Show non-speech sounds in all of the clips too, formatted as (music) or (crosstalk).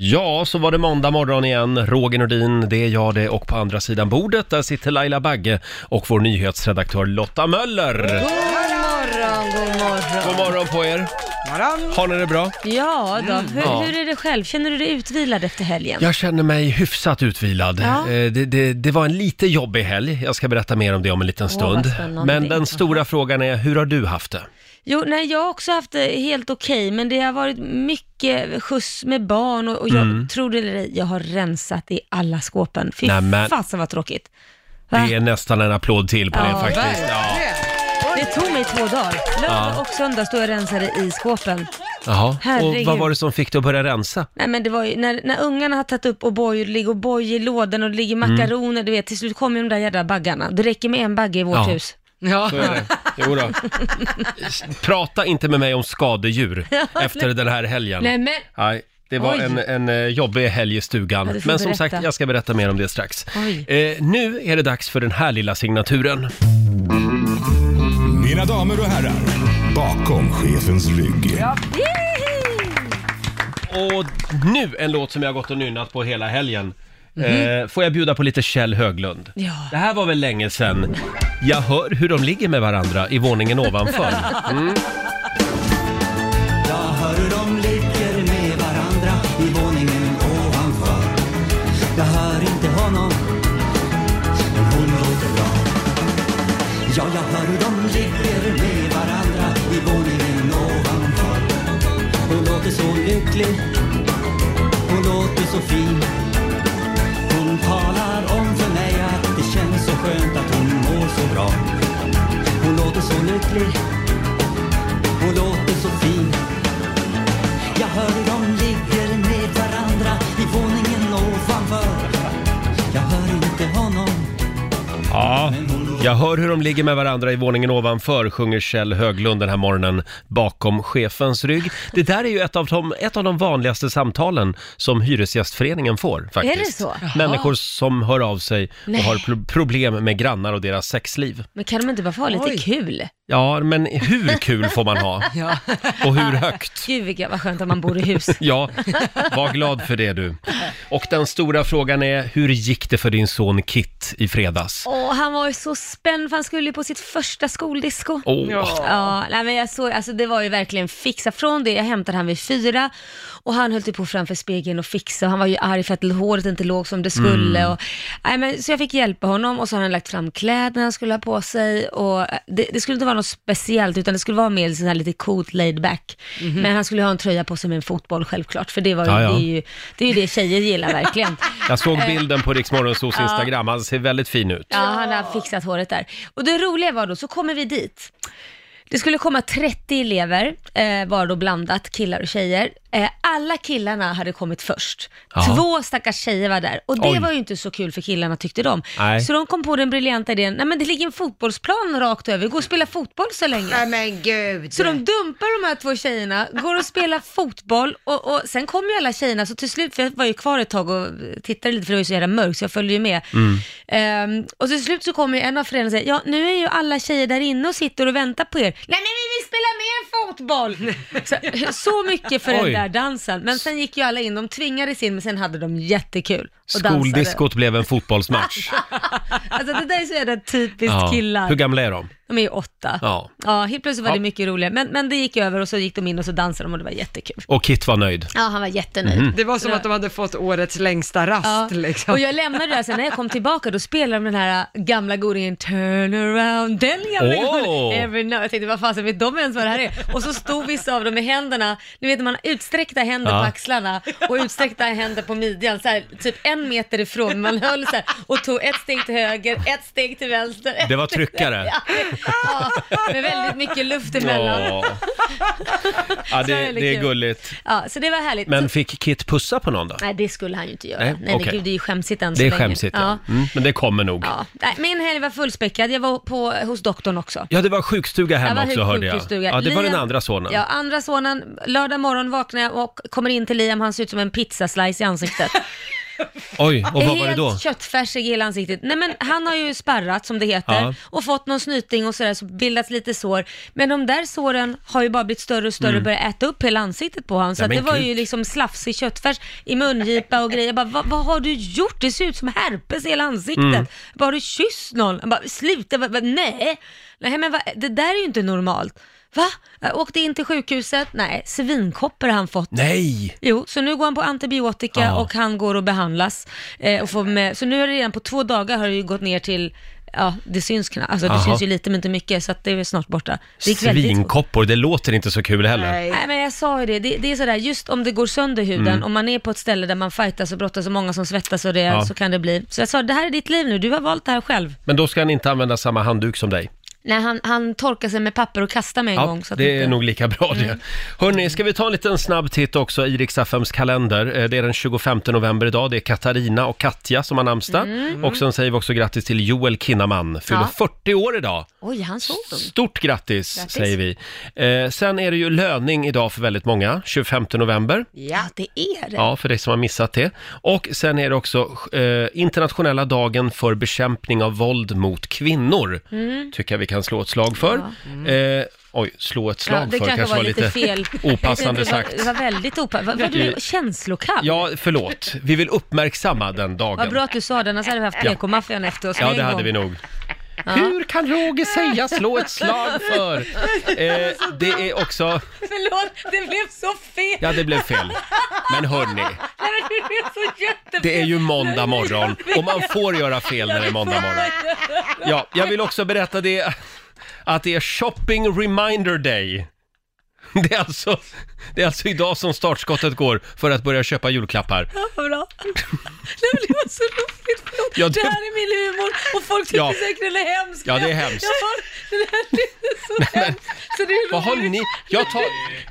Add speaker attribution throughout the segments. Speaker 1: Ja, så var det måndag morgon igen. Roger Nordin, det är jag det och på andra sidan bordet där sitter Laila Bagge och vår nyhetsredaktör Lotta Möller.
Speaker 2: God morgon, god morgon.
Speaker 1: God morgon på er. Har ni det bra?
Speaker 2: Ja, då. Hur,
Speaker 1: Ja.
Speaker 2: hur är det själv? Känner du dig utvilad efter helgen?
Speaker 1: Jag känner mig hyfsat utvilad.
Speaker 2: Ja.
Speaker 1: Eh, Det, det, det var en lite jobbig helg. Jag ska berätta mer om det om en liten
Speaker 2: Åh,
Speaker 1: stund.
Speaker 2: vad spännande.
Speaker 1: Men den stora frågan är, hur har du haft det?
Speaker 2: Jo, nej, jag har också haft det helt okej, men det har varit mycket skjuts med barn och, och jag,
Speaker 1: Mm.
Speaker 2: tror det eller ej, jag har rensat i alla skåpen. Fy
Speaker 1: Nej, men-
Speaker 2: fasen vad tråkigt. Va?
Speaker 1: Det är nästan en applåd till på det faktiskt. Ja.
Speaker 2: verkligen. Det tog mig två dagar. Lördag
Speaker 1: Ja.
Speaker 2: och söndag stod jag och rensade i skåpen.
Speaker 1: Jaha. Och
Speaker 2: Herregud.
Speaker 1: vad var det som fick dig att börja rensa?
Speaker 2: Nej men det var ju, när, när ungarna har tagit upp O'boy och det ligger O'boy i lådan och det ligger
Speaker 1: Mm.
Speaker 2: makaroner, du vet, till slut kommer ju de där jädra baggarna. Det räcker med en bagge i vårt
Speaker 1: Ja.
Speaker 2: hus.
Speaker 1: Så är det. Jo då. S- Prata inte med mig om skadedjur
Speaker 2: (laughs) Ja,
Speaker 1: efter
Speaker 2: nej.
Speaker 1: den här helgen.
Speaker 2: Nej, men-
Speaker 1: Nej, det var
Speaker 2: Oj.
Speaker 1: en, en eh, jobbig helg i stugan.
Speaker 2: Ja, du får
Speaker 1: men som
Speaker 2: berätta.
Speaker 1: sagt, jag ska berätta mer om det strax.
Speaker 2: Oj.
Speaker 1: Eh, nu är det dags för den här lilla signaturen.
Speaker 3: Mina damer och herrar, bakom chefens rygg.
Speaker 1: Och nu en låt som jag har gått och nynnat på hela helgen. Eh, får jag bjuda på lite Kjell Höglund?
Speaker 2: Mhm. Ja.
Speaker 1: Det här var väl länge sedan. Jag hör hur de ligger med varandra i våningen
Speaker 2: (laughs)
Speaker 1: ovanför. Mm.
Speaker 4: Jag hör hur de ligger med varandra i våningen ovanför. Jag hör inte honom, men hon låter bra. Ja, jag hör hur de ligger med varandra i våningen ovanför. Hon låter så lycklig, hon låter så fin. Hon talar om för mig att det känns så skönt att hon mår så bra. Hon låter så lycklig, hon låter så fin. Jag hör hur de ligger med varandra i våningen ovanför. Jag hör inte honom.
Speaker 1: Ja, jag hör hur de ligger med varandra i våningen ovanför, sjunger Kjell Höglund den här morgonen bakom chefens rygg. Det där är ju ett av de, ett av de vanligaste samtalen som Hyresgästföreningen får faktiskt.
Speaker 2: Är det så? Jaha.
Speaker 1: Människor som hör av sig
Speaker 2: Nej.
Speaker 1: och har pro- problem med grannar och deras sexliv.
Speaker 2: (laughs) Men kan de inte bara få ha lite kul?
Speaker 1: Ja, men hur kul får man (laughs) ha?
Speaker 2: Ja.
Speaker 1: Och hur högt?
Speaker 2: Gud vilka, vad skönt att man bor (laughs) i hus.
Speaker 1: Ja, var glad för det du. Och den stora frågan är, hur gick det för din son Kit i fredags?
Speaker 2: Åh, han var ju så spänd för han skulle ju på sitt första skoldisco.
Speaker 1: Åh.
Speaker 2: Ja, nej, men jag såg, alltså, det var ju verkligen fixa. Från det, jag hämtade han vid fyra och han höll typ på framför spegeln och fixa. Han var ju arg för att håret inte låg som det skulle.
Speaker 5: Mm.
Speaker 2: Och, nej, men, så jag fick hjälpa honom och så har han lagt fram kläderna han skulle ha på sig. Och eh, det, det skulle inte vara något speciellt utan det skulle vara mer så här lite coolt laid back.
Speaker 5: Mhm.
Speaker 2: Men han skulle ha en tröja på sig med en fotboll självklart, för det, var ju,
Speaker 1: Ja, ja.
Speaker 2: Det, är ju, det är ju det tjejer gillar verkligen.
Speaker 1: (laughs) Jag såg
Speaker 2: Eh,
Speaker 1: bilden på Riksmorgonsos
Speaker 2: Ja.
Speaker 1: Instagram, han ser väldigt fin ut.
Speaker 2: Ja, han har fixat håret där. Och det roliga var då, så kommer vi dit. Det skulle komma 30 elever, eh, var då blandat killar och tjejer. Eh, alla killarna hade kommit först.
Speaker 5: Ja.
Speaker 2: Två stackars tjejer var där och det
Speaker 5: Oj.
Speaker 2: var ju inte så kul för killarna tyckte de.
Speaker 5: Nej.
Speaker 2: Så de kom på den briljanta idén, nej men det ligger en fotbollsplan rakt över, gå och spela fotboll så länge. Nej men gud. Så de dumpar de här två tjejerna, går och spelar fotboll och, och sen kommer ju alla tjejerna, så till slut, för jag var ju kvar ett tag och tittade lite för det var ju så jävla mörkt så jag följde ju med.
Speaker 1: Mm.
Speaker 2: Ehm, och till slut så kommer ju en av föräldrarna säga, ja nu är ju alla tjejer där inne och sitter och väntar på er. Nej men vi vill spela mer fotboll! så, (laughs) så mycket för
Speaker 1: Oj.
Speaker 2: den där dansen. Men sen gick ju alla in, de tvingades in men sen hade de jättekul och dansade.
Speaker 1: Skoldiskot blev en
Speaker 2: (laughs)
Speaker 1: fotbollsmatch.
Speaker 2: Alltså det där är så jävla typiskt
Speaker 1: Ja.
Speaker 2: killar.
Speaker 1: Hur gamla är de?
Speaker 2: De är ju åtta.
Speaker 1: Ja.
Speaker 2: helt plötsligt var
Speaker 1: Ja.
Speaker 2: det mycket roligare. Men, men det gick över och så gick de in och så dansade de och det var jättekul.
Speaker 1: Och Kit var nöjd.
Speaker 2: Ja, han var jättenöjd.
Speaker 1: Mhm.
Speaker 6: Det var som att de hade fått årets längsta rast liksom.
Speaker 2: Och jag lämnade det där sen när jag kom tillbaka, då spelade de den här äh, gamla godingen Turn around, den gamla
Speaker 5: Åh!
Speaker 2: godingen Every now. Jag tänkte, vad fasen vet de ens vad det här är? Och så stod vissa av dem med händerna, ni vet man har utsträckta händer
Speaker 5: Ja.
Speaker 2: på axlarna och utsträckta händer på midjan, så här, typ en meter ifrån, man höll så här och tog ett steg till höger, ett steg till vänster. ett
Speaker 1: Det var
Speaker 2: steg-
Speaker 1: tryckare.
Speaker 2: Ja, med väldigt mycket luft emellan. (laughs)
Speaker 1: Ja, ja
Speaker 2: Så
Speaker 1: det,
Speaker 2: jävla
Speaker 1: det är
Speaker 2: kul.
Speaker 1: gulligt.
Speaker 2: Ja, så det var härligt.
Speaker 1: Men
Speaker 2: Så-
Speaker 1: fick Kit pussa på någon då?
Speaker 2: Nej, det skulle han ju inte göra.
Speaker 1: Nej,
Speaker 2: Nej, nej
Speaker 1: okej.
Speaker 2: gud, det är ju skämsigt än så
Speaker 1: Det är
Speaker 2: länge.
Speaker 1: skämsigt, ja. Mm, men det kommer nog.
Speaker 2: Ja. Nej, min helg var fullspäckad. Jag var på, hos doktorn också.
Speaker 1: Ja, det var sjukstuga
Speaker 2: Jag
Speaker 1: hemma
Speaker 2: var
Speaker 1: också
Speaker 2: sjuk-
Speaker 1: hörde jag.
Speaker 2: sjukstuga.
Speaker 1: Ja, det var den
Speaker 2: Liam-
Speaker 1: andra sonen.
Speaker 2: Ja, andra sonen. Lördag morgon vaknar jag och kommer in till Liam. Han ser ut som en pizzaslice i ansiktet.
Speaker 1: Oj, och vad
Speaker 2: Helt
Speaker 1: var det då?
Speaker 2: köttfärsig i hela ansiktet. Nej men han har ju sparrat som det heter
Speaker 1: Ja.
Speaker 2: och fått någon snyting och sådär så bildats lite sår. Men de där såren har ju bara blivit större och större och börjat äta upp hela ansiktet på honom. Så
Speaker 1: Nej,
Speaker 2: att
Speaker 1: Mm. men
Speaker 2: det var
Speaker 1: gud.
Speaker 2: ju liksom slafsig köttfärs i mungipa och grejer. Jag bara, vad, vad har du gjort? Det ser ut som herpes i hela ansiktet.
Speaker 1: Mm.
Speaker 2: Jag Bara, har du kysst någon? Jag bara, sluta, vad- vad- nej. Nej men vad, det där är ju inte normalt. Va? Jag åkte in till sjukhuset, nej, svinkoppor har han fått.
Speaker 1: Nej!
Speaker 2: Jo, så nu går han på antibiotika
Speaker 1: Ja.
Speaker 2: och han går och behandlas. Eh, och får med, så nu har det redan på två dagar har det ju gått ner till, ja det syns knappt, alltså det
Speaker 1: Jaha.
Speaker 2: syns ju lite men inte mycket så att det är snart borta. Det gick väldigt fort.
Speaker 1: Svinkoppor, det låter inte så kul heller.
Speaker 2: Nej men jag sa ju det, det, det är sådär just om det går sönder huden,
Speaker 1: Mm.
Speaker 2: om man är på ett ställe där man fightas och brottas och många som svettas och det,
Speaker 1: Ja.
Speaker 2: så kan det bli. Så jag sa, det här är ditt liv nu, du har valt det här själv.
Speaker 1: Men då ska han inte använda samma handduk som dig.
Speaker 2: Nej han, han torkar sig med papper och kastar mig en gång. Så att
Speaker 1: det är
Speaker 2: inte- Mm.
Speaker 1: nog lika bra det. Hörni, ska vi ta en liten snabb titt också i Riks-FMs kalender. Eh, Det är den 25 november idag. Det är Katarina och Katja som har namnsdag.
Speaker 2: Mm.
Speaker 1: Och sen säger vi också grattis till Joel Kinnaman, fyller 40 år idag.
Speaker 2: Oj, han såg dem.
Speaker 1: Stort grattis,
Speaker 2: Grattis.
Speaker 1: säger vi. Eh, sen är det ju löning idag för väldigt många, 25 november.
Speaker 2: Ja, det är det.
Speaker 1: Ja, för dig som har missat det. Och sen är det också eh, internationella dagen för bekämpning av våld mot kvinnor.
Speaker 2: Mm.
Speaker 1: Tycker jag vi kan slå ett slag för. Eh, oj, slå ett slag
Speaker 2: Ja, det
Speaker 1: för
Speaker 2: kanske var lite fel.
Speaker 1: (laughs) opassande
Speaker 2: (laughs) det, var,
Speaker 1: sagt.
Speaker 2: det var väldigt opassande. Var, var du känslokall?
Speaker 1: Ja, förlåt. Vi vill uppmärksamma den
Speaker 2: Vad
Speaker 1: dagen.
Speaker 2: bra att du sa det, annars hade vi haft PK-maffian efter oss
Speaker 1: Ja,
Speaker 2: en
Speaker 1: det hade
Speaker 2: gång.
Speaker 1: vi nog. Hur kan Roger säga slå ett slag för? Eh, det är också...
Speaker 2: Förlåt, det blev så fel!
Speaker 1: Ja, det blev fel. Men hörni,
Speaker 2: Nej, men (laughs) Det blev så jättefel!
Speaker 1: det är ju måndag
Speaker 2: (laughs)
Speaker 1: morgon och man får göra fel när det är måndag morgon. Ja, jag vill också berätta det att det är shopping reminder day. Det är, alltså, det är alltså idag som startskottet går för att börja köpa julklappar.
Speaker 2: Ja, vad bra. Nej, men det var så roligt, förlåt.
Speaker 1: Ja, det-
Speaker 2: det... här är min humor och folk tycker
Speaker 1: Ja.
Speaker 2: säkert den är hemsk.
Speaker 1: Ja, det är hemskt.
Speaker 2: Ja, det här är så hemskt. Så det är
Speaker 1: Vad har
Speaker 2: roligt.
Speaker 1: ni? Jag tar,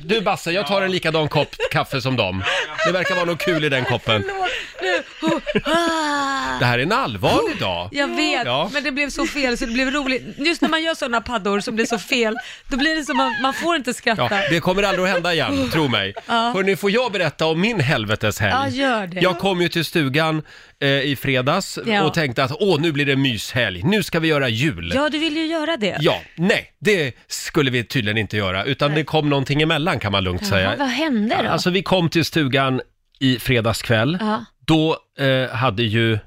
Speaker 1: du Basse, jag tar en likadan kopp kaffe som dem. Det verkar vara något kul i den koppen.
Speaker 2: Förlåt. Nu. Oh. Ah.
Speaker 1: Det här är en allvarlig dag.
Speaker 2: Jag vet,
Speaker 1: Ja.
Speaker 2: men det blev så fel så det blev roligt. Just när man gör sådana paddor som blir så fel, då blir det som att man får inte
Speaker 1: Ja,
Speaker 2: skratta.
Speaker 1: det kommer aldrig att hända
Speaker 2: (laughs)
Speaker 1: igen, tro mig.
Speaker 2: Ja.
Speaker 1: Hörni, får jag berätta om min helveteshelg?
Speaker 2: Ja, gör det.
Speaker 1: Jag kom ju till stugan eh, i fredags
Speaker 2: Ja.
Speaker 1: och tänkte att åh, nu blir det myshelg, nu ska vi göra jul.
Speaker 2: Ja, du vill ju göra det.
Speaker 1: Ja, nej, det skulle vi tydligen inte göra, utan det kom någonting emellan kan man lugnt
Speaker 2: Jaha, vad
Speaker 1: säga.
Speaker 2: hände då?
Speaker 1: Alltså vi kom till stugan i fredags kväll,
Speaker 2: ja.
Speaker 1: då eh, hade ju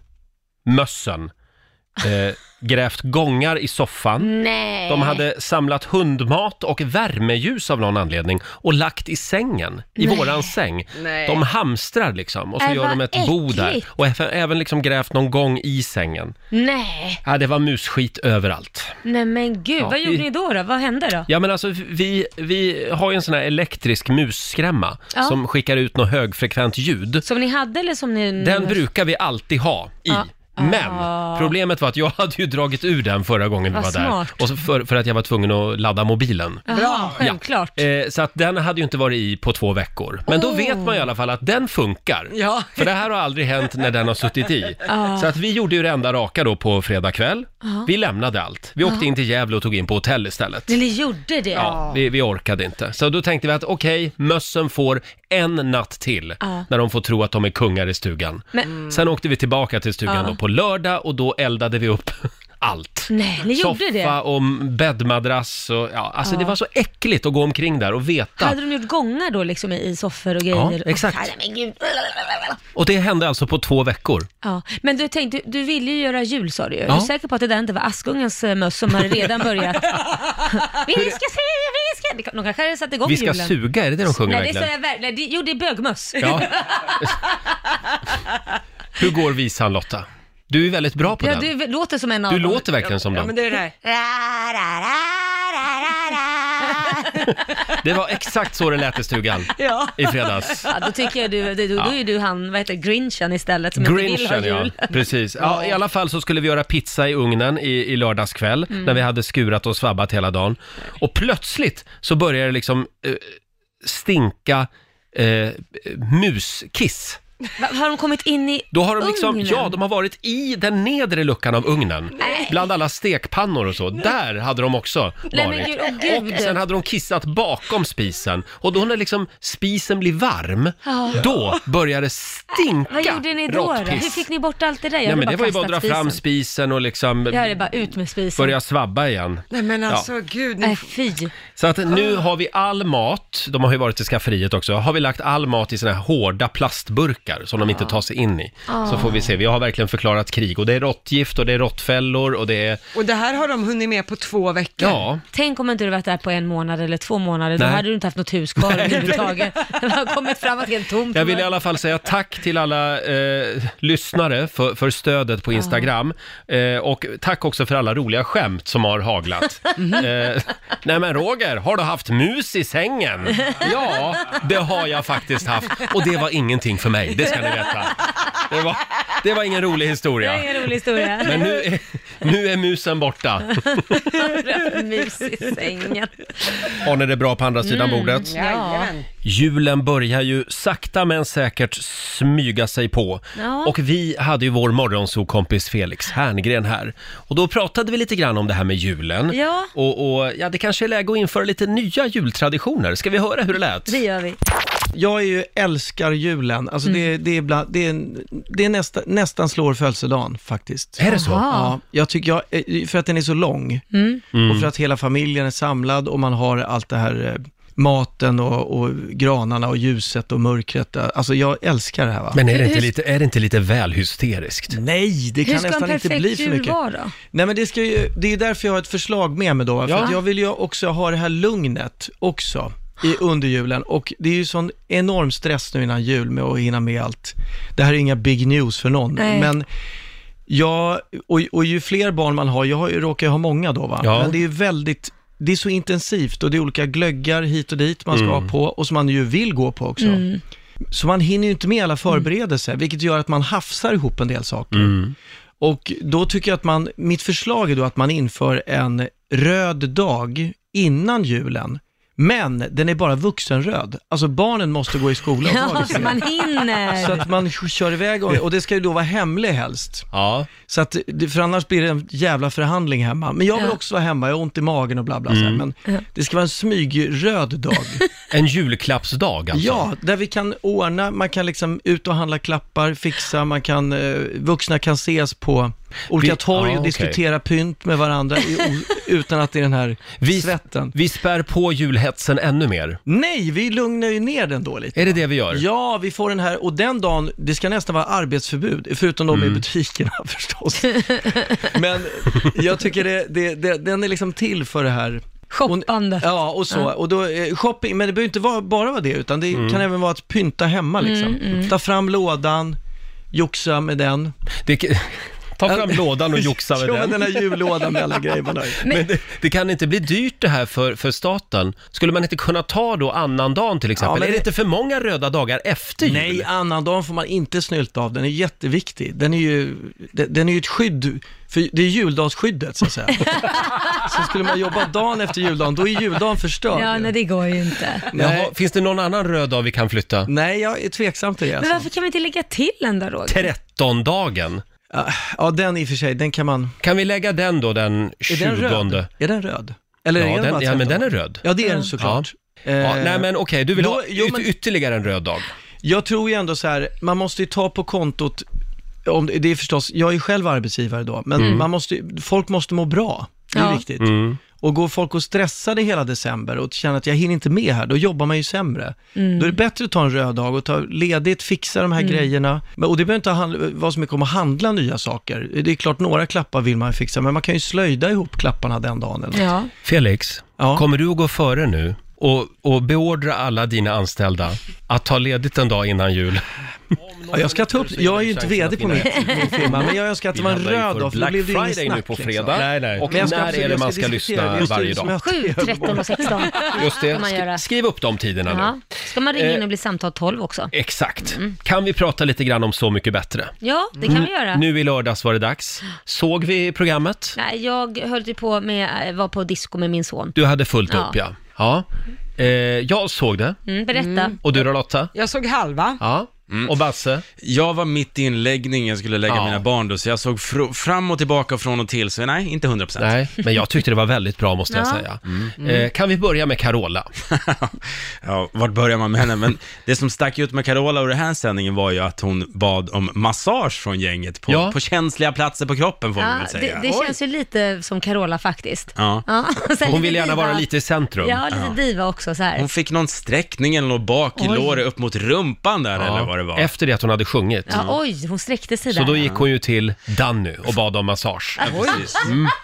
Speaker 1: mössen
Speaker 2: (laughs)
Speaker 1: eh, grävt gångar i soffan.
Speaker 2: Nej.
Speaker 1: De hade samlat hundmat och värmeljus av någon anledning och lagt i sängen, i
Speaker 2: Nej.
Speaker 1: våran säng.
Speaker 6: Nej.
Speaker 1: De hamstrar liksom och så
Speaker 2: Äh,
Speaker 1: gör de
Speaker 2: vad
Speaker 1: ett bo där.
Speaker 2: äckligt.
Speaker 1: Och även- även liksom grävt någon gång i sängen.
Speaker 2: Nej,
Speaker 1: Ja, det var musskit överallt.
Speaker 2: nej men gud,
Speaker 1: Ja,
Speaker 2: vad gjorde
Speaker 1: vi-
Speaker 2: ni då, då? Vad hände då?
Speaker 1: Ja men alltså vi, vi har ju en sån här elektrisk musskrämma
Speaker 2: Ja.
Speaker 1: som skickar ut något högfrekvent ljud.
Speaker 2: Som ni hade eller som ni...
Speaker 1: Den brukar vi alltid ha i.
Speaker 2: Ja.
Speaker 1: Men
Speaker 2: Ah.
Speaker 1: problemet var att jag (laughs) hade ju dragit ur den förra gången vi
Speaker 2: Vad
Speaker 1: var
Speaker 2: smart.
Speaker 1: där. Och så för, för att jag var tvungen att ladda mobilen.
Speaker 2: Bra, självklart.
Speaker 1: Eh, så att den hade ju inte varit i på två veckor. Men då
Speaker 2: Oh.
Speaker 1: vet man i alla fall att den funkar.
Speaker 6: Ja.
Speaker 1: För det här har aldrig hänt när den har suttit i. Så att vi gjorde ju det enda raka då på fredag kväll. Vi lämnade allt. Vi åkte in till Gävle och tog in på hotell istället.
Speaker 2: När ni gjorde det?
Speaker 1: Ja, vi, vi orkade inte. Så då tänkte vi att okej, mössen får en natt till
Speaker 2: Ja.
Speaker 1: när de får tro att de är kungar i stugan.
Speaker 2: Men,
Speaker 1: Mm. Sen åkte vi tillbaka till stugan
Speaker 2: Mm. Ja.
Speaker 1: då på lördag och då eldade vi upp (laughs) allt.
Speaker 2: nej, ni gjorde
Speaker 1: Soffa
Speaker 2: det?
Speaker 1: och bäddmadrass och ja, alltså det var så äckligt att gå omkring där och veta.
Speaker 2: Hade de gjort gångar då liksom i- i soffor och grejer?
Speaker 1: Ja, exakt.
Speaker 2: Åh, nej, men, gud.
Speaker 1: Och det hände alltså på två veckor.
Speaker 2: Ja. men du tänkte, du ville ju göra jul sa du ju. Är
Speaker 1: Ja.
Speaker 2: du säker på att det där inte var Askungens eh, möss som hade
Speaker 1: (laughs)
Speaker 2: redan börjat? vi ska se, vi ska... De kanske hade satt igång
Speaker 1: Vi ska
Speaker 2: julen.
Speaker 1: suga, är det det de sjunger
Speaker 2: Nej, det
Speaker 1: verkligen?
Speaker 2: säger jag verkligen. Nej, det- Jo, det är bögmöss.
Speaker 1: Ja. Hur går visan Lotta? Du är väldigt bra på
Speaker 2: (laughs) Ja,
Speaker 1: den. Du,
Speaker 2: du låter som en av dem.
Speaker 1: låter verkligen som
Speaker 6: Ja,
Speaker 1: den.
Speaker 6: men det är det här.
Speaker 1: Det var exakt så det lät i
Speaker 2: (laughs)
Speaker 1: stugan
Speaker 6: Ja.
Speaker 1: i fredags.
Speaker 2: Ja, då tycker jag du, du, då är du han, vad heter det, Grinchen istället som inte
Speaker 1: Grinchen
Speaker 2: vill ha
Speaker 1: ja,
Speaker 2: jul.
Speaker 1: (laughs) precis. Ja, I alla fall så skulle vi göra pizza i ugnen i, i lördags kväll
Speaker 2: Mm.
Speaker 1: när vi hade skurat och svabbat hela dagen. Och plötsligt så började det liksom eh, stinka eh, muskiss
Speaker 2: Va- Har de kommit in i
Speaker 1: Då har de liksom,
Speaker 2: ugnen?
Speaker 1: ja de har varit i den nedre luckan av ugnen.
Speaker 2: Nej.
Speaker 1: Bland alla stekpannor och så. Där hade de också varit.
Speaker 2: Nej, men gud, åh, gud.
Speaker 1: Och sen hade de kissat bakom spisen. Och då när liksom spisen blir varm,
Speaker 2: Ja.
Speaker 1: då börjar det stinka
Speaker 2: Vad gjorde ni då? då?
Speaker 1: råttpiss.
Speaker 2: Hur fick ni bort allt det där? Jag
Speaker 1: Nej
Speaker 2: hade
Speaker 1: men det var ju bara att dra
Speaker 2: kastat
Speaker 1: fram
Speaker 2: spisen.
Speaker 1: spisen och liksom
Speaker 2: Jag hade bara ut med spisen.
Speaker 1: börja svabba igen.
Speaker 6: Nej men
Speaker 1: Ja.
Speaker 6: alltså Ah. gud,
Speaker 2: Nej
Speaker 6: ni...
Speaker 2: fy.
Speaker 1: Så att nu har vi all mat, de har ju varit i skafferiet också, har vi lagt all mat i såna här hårda plastburkar som de inte
Speaker 6: Ah.
Speaker 1: tar sig in i.
Speaker 2: Ah.
Speaker 1: Så får vi se, vi har verkligen förklarat krig och det är råttgift och det är råttfällor och det är,
Speaker 6: och det här har de hunnit med på två veckor.
Speaker 1: ja,
Speaker 2: Tänk om inte du varit där på en månad eller två månader, då
Speaker 1: Nej.
Speaker 2: hade du inte haft något hus kvar
Speaker 1: (laughs)
Speaker 2: överhuvudtaget. Det har kommit fram att helt tomt.
Speaker 1: Jag vill i alla fall säga tack till alla eh, lyssnare för, för stödet
Speaker 2: Ah.
Speaker 1: på Instagram. Eh, och tack också för alla roliga skämt som har haglat.
Speaker 2: Mm.
Speaker 1: eh, nej men Roger, har du haft mus i sängen? Ja, det har jag faktiskt haft. Och det var ingenting för mig, det ska ni veta. Det var, det var ingen rolig
Speaker 2: (laughs) Det
Speaker 1: historia.
Speaker 2: är en rolig historia.
Speaker 1: Men nu är, nu är musen borta.
Speaker 2: Mys i sängen.
Speaker 1: Har ni det bra på andra sidan
Speaker 2: Mm,
Speaker 1: bordet?
Speaker 6: Jajamän.
Speaker 1: Julen börjar ju sakta men säkert smyga sig på.
Speaker 2: Ja.
Speaker 1: Och vi hade ju vår morgonsokompis Felix Herngren här. Och då pratade vi lite grann om det här med julen.
Speaker 2: Ja.
Speaker 1: Och, och ja, det kanske är läge att införa lite nya jultraditioner. Ska vi höra hur det lät?
Speaker 2: Det gör vi.
Speaker 5: Jag är ju, älskar julen. Alltså det,
Speaker 2: Mm.
Speaker 5: det är, bland, det är, en- det är nästa, nästan slår födelsedagen faktiskt.
Speaker 1: Är det så?
Speaker 2: Jaha. Mm.
Speaker 5: Ja, jag tycker jag, eh, för att den är så lång
Speaker 1: Mm.
Speaker 5: och för att hela familjen är samlad och man har allt det här eh, maten och, och granarna och ljuset och mörkret. Alltså jag älskar det här va?
Speaker 1: Men är det, inte
Speaker 2: Hur-
Speaker 1: lite, är det inte lite väl hysteriskt?
Speaker 5: Nej, det
Speaker 2: Hur
Speaker 5: kan
Speaker 2: ska en
Speaker 5: nästan inte bli
Speaker 2: perfekt
Speaker 5: för
Speaker 2: jul
Speaker 5: mycket.
Speaker 2: vara då?
Speaker 5: Nej, men det, ska ju, det är ju därför jag har ett förslag med mig då. För
Speaker 1: Ja.
Speaker 5: att jag vill ju också ha det här lugnet också i under julen. Och det är ju sån enorm stress nu innan jul med att hinna med allt. Det här är inga big news för någon,
Speaker 2: Nej.
Speaker 5: men Ja, och, och ju fler barn man har, jag har, ju- råkar ju ha många då va,
Speaker 1: Ja.
Speaker 5: men det är ju väldigt, det är så intensivt och det är olika glöggar hit och dit man ska
Speaker 1: Mm.
Speaker 5: ha på och som man ju vill gå på också. Så man hinner ju inte med alla förberedelser, vilket gör att man hafsar ihop en del saker.
Speaker 1: Mm.
Speaker 5: Och då tycker jag att man, mitt förslag är då att man inför en röd dag innan julen, men den är bara vuxenröd. Alltså barnen måste gå i skola och
Speaker 2: Ja,
Speaker 5: dagis.
Speaker 2: så man
Speaker 5: Så
Speaker 2: hinner.
Speaker 5: att man kör iväg och, och det ska ju då vara hemlig helst.
Speaker 1: Ja.
Speaker 5: Så att, det- för annars blir det en jävla förhandling hemma. Men jag vill
Speaker 2: Ja.
Speaker 5: också vara hemma, jag har ont i magen och bla bla. så här.
Speaker 1: Mm.
Speaker 5: Men det ska vara en smygröd dag.
Speaker 1: En julklappsdag alltså?
Speaker 5: ja, där vi kan ordna, man kan liksom ut och handla klappar, fixa, man kan, eh, vuxna kan ses på olika
Speaker 1: Vi-
Speaker 5: torg
Speaker 1: ja,
Speaker 5: och
Speaker 1: okej.
Speaker 5: diskutera pynt med varandra i,
Speaker 1: (laughs)
Speaker 5: o, utan att det är den här
Speaker 1: Vi,
Speaker 5: svetten.
Speaker 1: vi spär på julhetsen ännu mer.
Speaker 5: Nej, vi lugnar ju ner den då lite.
Speaker 1: Är det det vi gör?
Speaker 5: Ja, vi får den här, och den dagen, det ska nästan vara arbetsförbud, förutom de
Speaker 1: Mm.
Speaker 5: i butikerna (laughs) förstås. Men jag tycker det, det, det, den är liksom till för det här.
Speaker 2: Shoppandet.
Speaker 5: Och, ja, och så. Och då, eh, shopping, men det behöver inte vara, bara vara det, utan det
Speaker 1: Mm.
Speaker 5: kan även vara att pynta hemma liksom. Ta fram lådan, joxa med den.
Speaker 1: Det, ta fram lådan och joxa med
Speaker 5: (laughs) Jo,
Speaker 1: den.
Speaker 5: men den här jullådan med alla grejer man har i.
Speaker 1: Men det, det kan inte bli dyrt det här för, för staten. Skulle man inte kunna ta då annandagen till exempel?
Speaker 5: Ja, men
Speaker 1: är det
Speaker 5: det-
Speaker 1: inte för många röda dagar efter jul?
Speaker 5: Nej, annandagen får man inte snylta av. Den är jätteviktig. Den är ju, den, den är ju ett skydd, för det är juldagsskyddet så
Speaker 1: (laughs)
Speaker 5: att säga. (laughs) så skulle man jobba dagen efter juldagen, då är juldagen förstörd.
Speaker 2: Ja,
Speaker 5: ju.
Speaker 2: nej det går ju inte.
Speaker 5: nej.
Speaker 1: Jaha, finns det någon annan röd dag vi kan flytta?
Speaker 5: nej, jag är tveksam till det.
Speaker 2: Men
Speaker 5: Alltså.
Speaker 2: varför kan vi inte lägga till en då Roger?
Speaker 1: Trettondagen.
Speaker 5: Ja, den i och för sig, den kan man...
Speaker 1: Kan vi lägga den då, den
Speaker 5: Är den
Speaker 1: tjugonde?
Speaker 5: röd? Är den röd? Eller är
Speaker 1: Ja, den,
Speaker 5: bara
Speaker 1: ja, men
Speaker 5: 13?
Speaker 1: den är röd.
Speaker 5: Ja, det är den såklart.
Speaker 1: Ja,
Speaker 5: Eh,
Speaker 1: nej men okej, du vill
Speaker 5: då-
Speaker 1: ha
Speaker 5: jo,
Speaker 1: yt-
Speaker 5: men-
Speaker 1: ytterligare en röd dag.
Speaker 5: Jag tror ju ändå så här, man måste ju ta på kontot, om det, det är förstås, jag är själv arbetsgivare då, men
Speaker 1: Mm.
Speaker 5: man måste, ju- folk måste må bra. Det är
Speaker 2: Ja.
Speaker 5: viktigt. Och går folk och stressade hela december och känner att jag hinner inte med här, då jobbar man ju sämre. Då är det bättre att ta en röd dag och ta ledigt, fixa de här grejerna. Men, och det behöver inte handla- vara så mycket om att handla nya saker. Det är klart, några klappar vill man ju fixa, men man kan ju slöjda ihop klapparna den dagen. Eller? något.
Speaker 2: Ja.
Speaker 1: Felix,
Speaker 5: Ja.
Speaker 1: kommer du att gå före nu och, och beordra alla dina anställda att ta ledigt en dag innan jul?
Speaker 5: Ja, jag ska ta upp, jag är ju inte vd
Speaker 1: (laughs)
Speaker 5: på min, min firma, men jag önskar att det var en
Speaker 1: Vi handlar ju
Speaker 5: röd
Speaker 1: för
Speaker 5: dag, för då
Speaker 1: Black
Speaker 5: blev det ju ingen
Speaker 1: Friday
Speaker 5: snack.
Speaker 1: nu på
Speaker 5: liksom.
Speaker 1: fredag. Nej, nej. Och
Speaker 5: Men jag
Speaker 1: när
Speaker 5: absolut-
Speaker 1: är det
Speaker 5: jag
Speaker 1: man
Speaker 5: ska
Speaker 1: ska
Speaker 5: diskutera
Speaker 1: lyssna
Speaker 5: det. Just det,
Speaker 1: varje
Speaker 5: som
Speaker 1: dag?
Speaker 5: jag-
Speaker 2: 7, 13 och 16
Speaker 1: Just det,
Speaker 2: kan man
Speaker 1: Sk-
Speaker 2: göra.
Speaker 1: skriv upp de tiderna nu.
Speaker 2: Ja. Ska man ringa in
Speaker 1: Eh.
Speaker 2: och bli samtal 12 också?
Speaker 1: Exakt. Kan vi prata lite grann om Så mycket bättre?
Speaker 2: Ja, det kan vi göra.
Speaker 1: Nu i lördags var det dags. Såg vi programmet?
Speaker 2: Nej, jag höll ju på med, eh, var på disco med min son.
Speaker 1: Du hade fullt
Speaker 2: Ja.
Speaker 1: upp ja. ja. Eh, jag såg det.
Speaker 2: Mm, berätta.
Speaker 1: Och du då Lotta?
Speaker 6: Jag såg halva.
Speaker 1: Ja. Och Basse?
Speaker 7: Jag var mitt i inläggningen, jag skulle lägga
Speaker 1: Ja.
Speaker 7: mina barn då, så jag såg fr- fram och tillbaka och från och till, så nej, inte 100%.
Speaker 1: Nej, men jag tyckte det var väldigt bra måste jag
Speaker 2: Ja.
Speaker 1: säga. Eh, kan vi börja med Carola?
Speaker 7: (laughs) ja, vart börjar man med henne? Men det som stack ut med Carola och den här sändningen var ju att hon bad om massage från gänget på,
Speaker 1: Ja.
Speaker 7: på känsliga platser på kroppen, får man
Speaker 2: Ja,
Speaker 7: väl
Speaker 2: det,
Speaker 7: säga.
Speaker 2: det känns ju lite som Carola faktiskt.
Speaker 7: Ja.
Speaker 2: Ja, (laughs) så här
Speaker 1: Hon vill
Speaker 2: lite
Speaker 1: gärna
Speaker 2: diva.
Speaker 1: vara lite i centrum.
Speaker 2: Ja, lite diva också så här.
Speaker 7: Hon fick någon sträckning eller något bak i
Speaker 2: Oj.
Speaker 7: låret upp mot rumpan där eller vad det var.
Speaker 1: Efter det att hon hade sjungit.
Speaker 2: Ja, oj, hon sträckte sig
Speaker 1: Så
Speaker 2: där.
Speaker 1: då gick hon ju till Danny och bad om massage. Mm.
Speaker 7: Precis.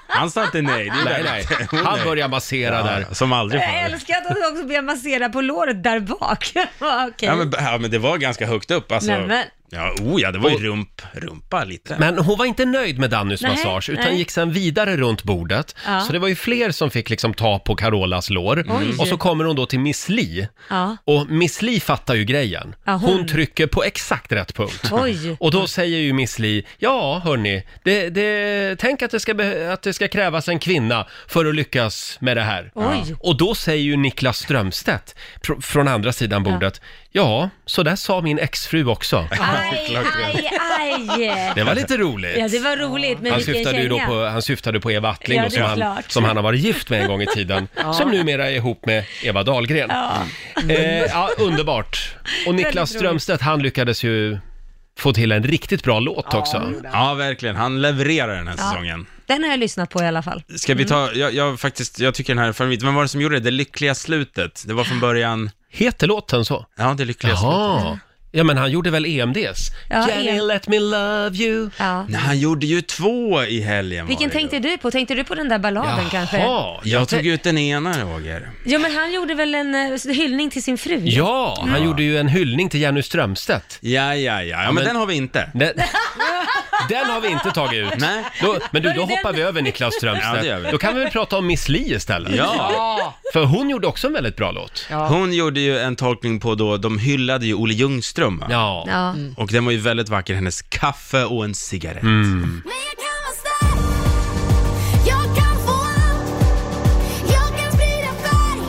Speaker 7: Han sa inte nej. Det är
Speaker 1: Nej, nej.
Speaker 7: väldigt- (laughs) Hon
Speaker 1: Han
Speaker 7: nej.
Speaker 1: började massera där.
Speaker 7: Ja, som aldrig
Speaker 2: Jag
Speaker 7: förr.
Speaker 2: älskar att hon också blir masserad på låret där bak. (laughs) Ja, Okej.
Speaker 7: Ja men, ja men det var ganska högt upp alltså.
Speaker 2: Nej, men-
Speaker 7: Ja, oh ja, det var ju rump, rumpa lite.
Speaker 1: Men hon var inte nöjd med Dannys
Speaker 2: Nej,
Speaker 1: massage utan
Speaker 2: nej.
Speaker 1: gick sen vidare runt bordet.
Speaker 2: Ja.
Speaker 1: Så det var ju fler som fick liksom ta på Carolas lår.
Speaker 2: Oj.
Speaker 1: Och så kommer hon då till Miss Li.
Speaker 2: Ja.
Speaker 1: Och Miss Li fattar ju grejen.
Speaker 2: Ja,
Speaker 1: hon...
Speaker 2: hon-
Speaker 1: trycker på exakt rätt punkt.
Speaker 2: Oj.
Speaker 1: Och då säger ju Miss Li, ja hörni, det, det, tänk att det, ska be- att det ska krävas en kvinna för att lyckas med det här.
Speaker 2: Oj.
Speaker 1: Och då säger ju Niklas Strömstedt pr- från andra sidan bordet, ja, så där sa min exfru också.
Speaker 2: Aj, aj, aj.
Speaker 1: Det var lite roligt.
Speaker 2: Ja, det var roligt, men
Speaker 1: Han
Speaker 2: vilken
Speaker 1: syftade, ju då
Speaker 2: känga.
Speaker 1: på, han syftade på Eva Attling
Speaker 2: Ja,
Speaker 1: då,
Speaker 2: det
Speaker 1: som,
Speaker 2: är
Speaker 1: han,
Speaker 2: klart.
Speaker 1: som han har varit gift med en gång i
Speaker 2: (laughs)
Speaker 1: tiden. Som numera är ihop med Eva Dahlgren. Eh, ja, underbart. Och Niklas
Speaker 2: roligt.
Speaker 1: Strömstedt, han lyckades ju få till en riktigt bra låt också.
Speaker 7: Ja, verkligen. Han levererar den här säsongen.
Speaker 2: Den har jag lyssnat på i alla fall.
Speaker 7: Ska vi ta, jag, jag faktiskt, jag tycker den här är favorit. Vem var det som gjorde det? Det lyckliga slutet. Det var från början,
Speaker 1: Heter låten så?
Speaker 7: ja, det lyckliga slutet.
Speaker 1: Jaha. Ja, men han gjorde väl E EMDs?
Speaker 2: Ja,
Speaker 1: Jenny,
Speaker 2: EM.
Speaker 1: let me love you.
Speaker 2: Ja.
Speaker 7: Nej, han gjorde ju två i helgen
Speaker 2: Vilken
Speaker 7: var det ju.
Speaker 2: tänkte du på? Tänkte du på den där balladen kanske?
Speaker 1: Jaha.
Speaker 7: Jag tog ut den ena, Roger.
Speaker 2: Ja, men han gjorde väl en eh, hyllning till sin fru?
Speaker 1: Ja, han gjorde ju en hyllning till Jenny Strömstedt.
Speaker 7: Ja, ja, ja. Ja, men,
Speaker 1: men-
Speaker 7: den har vi inte.
Speaker 1: Den, den har vi inte tagit ut.
Speaker 7: Nej.
Speaker 1: Då, men du,
Speaker 2: Var
Speaker 1: då
Speaker 2: det
Speaker 1: hoppar
Speaker 2: den?
Speaker 1: vi över Niklas
Speaker 7: Ja,
Speaker 1: Strömstedt.
Speaker 7: det gör vi.
Speaker 1: då kan vi väl prata om Miss Li istället.
Speaker 7: Ja.
Speaker 1: För hon gjorde också en väldigt bra låt. Ja.
Speaker 7: Hon gjorde ju en tolkning på då, de hyllade ju Olle Ljungström va?
Speaker 2: Ja.
Speaker 7: Och den var ju väldigt vacker, hennes kaffe och en cigarett.
Speaker 1: Mm.
Speaker 8: Men jag kan vara stark Jag kan få allt Jag kan sprida färg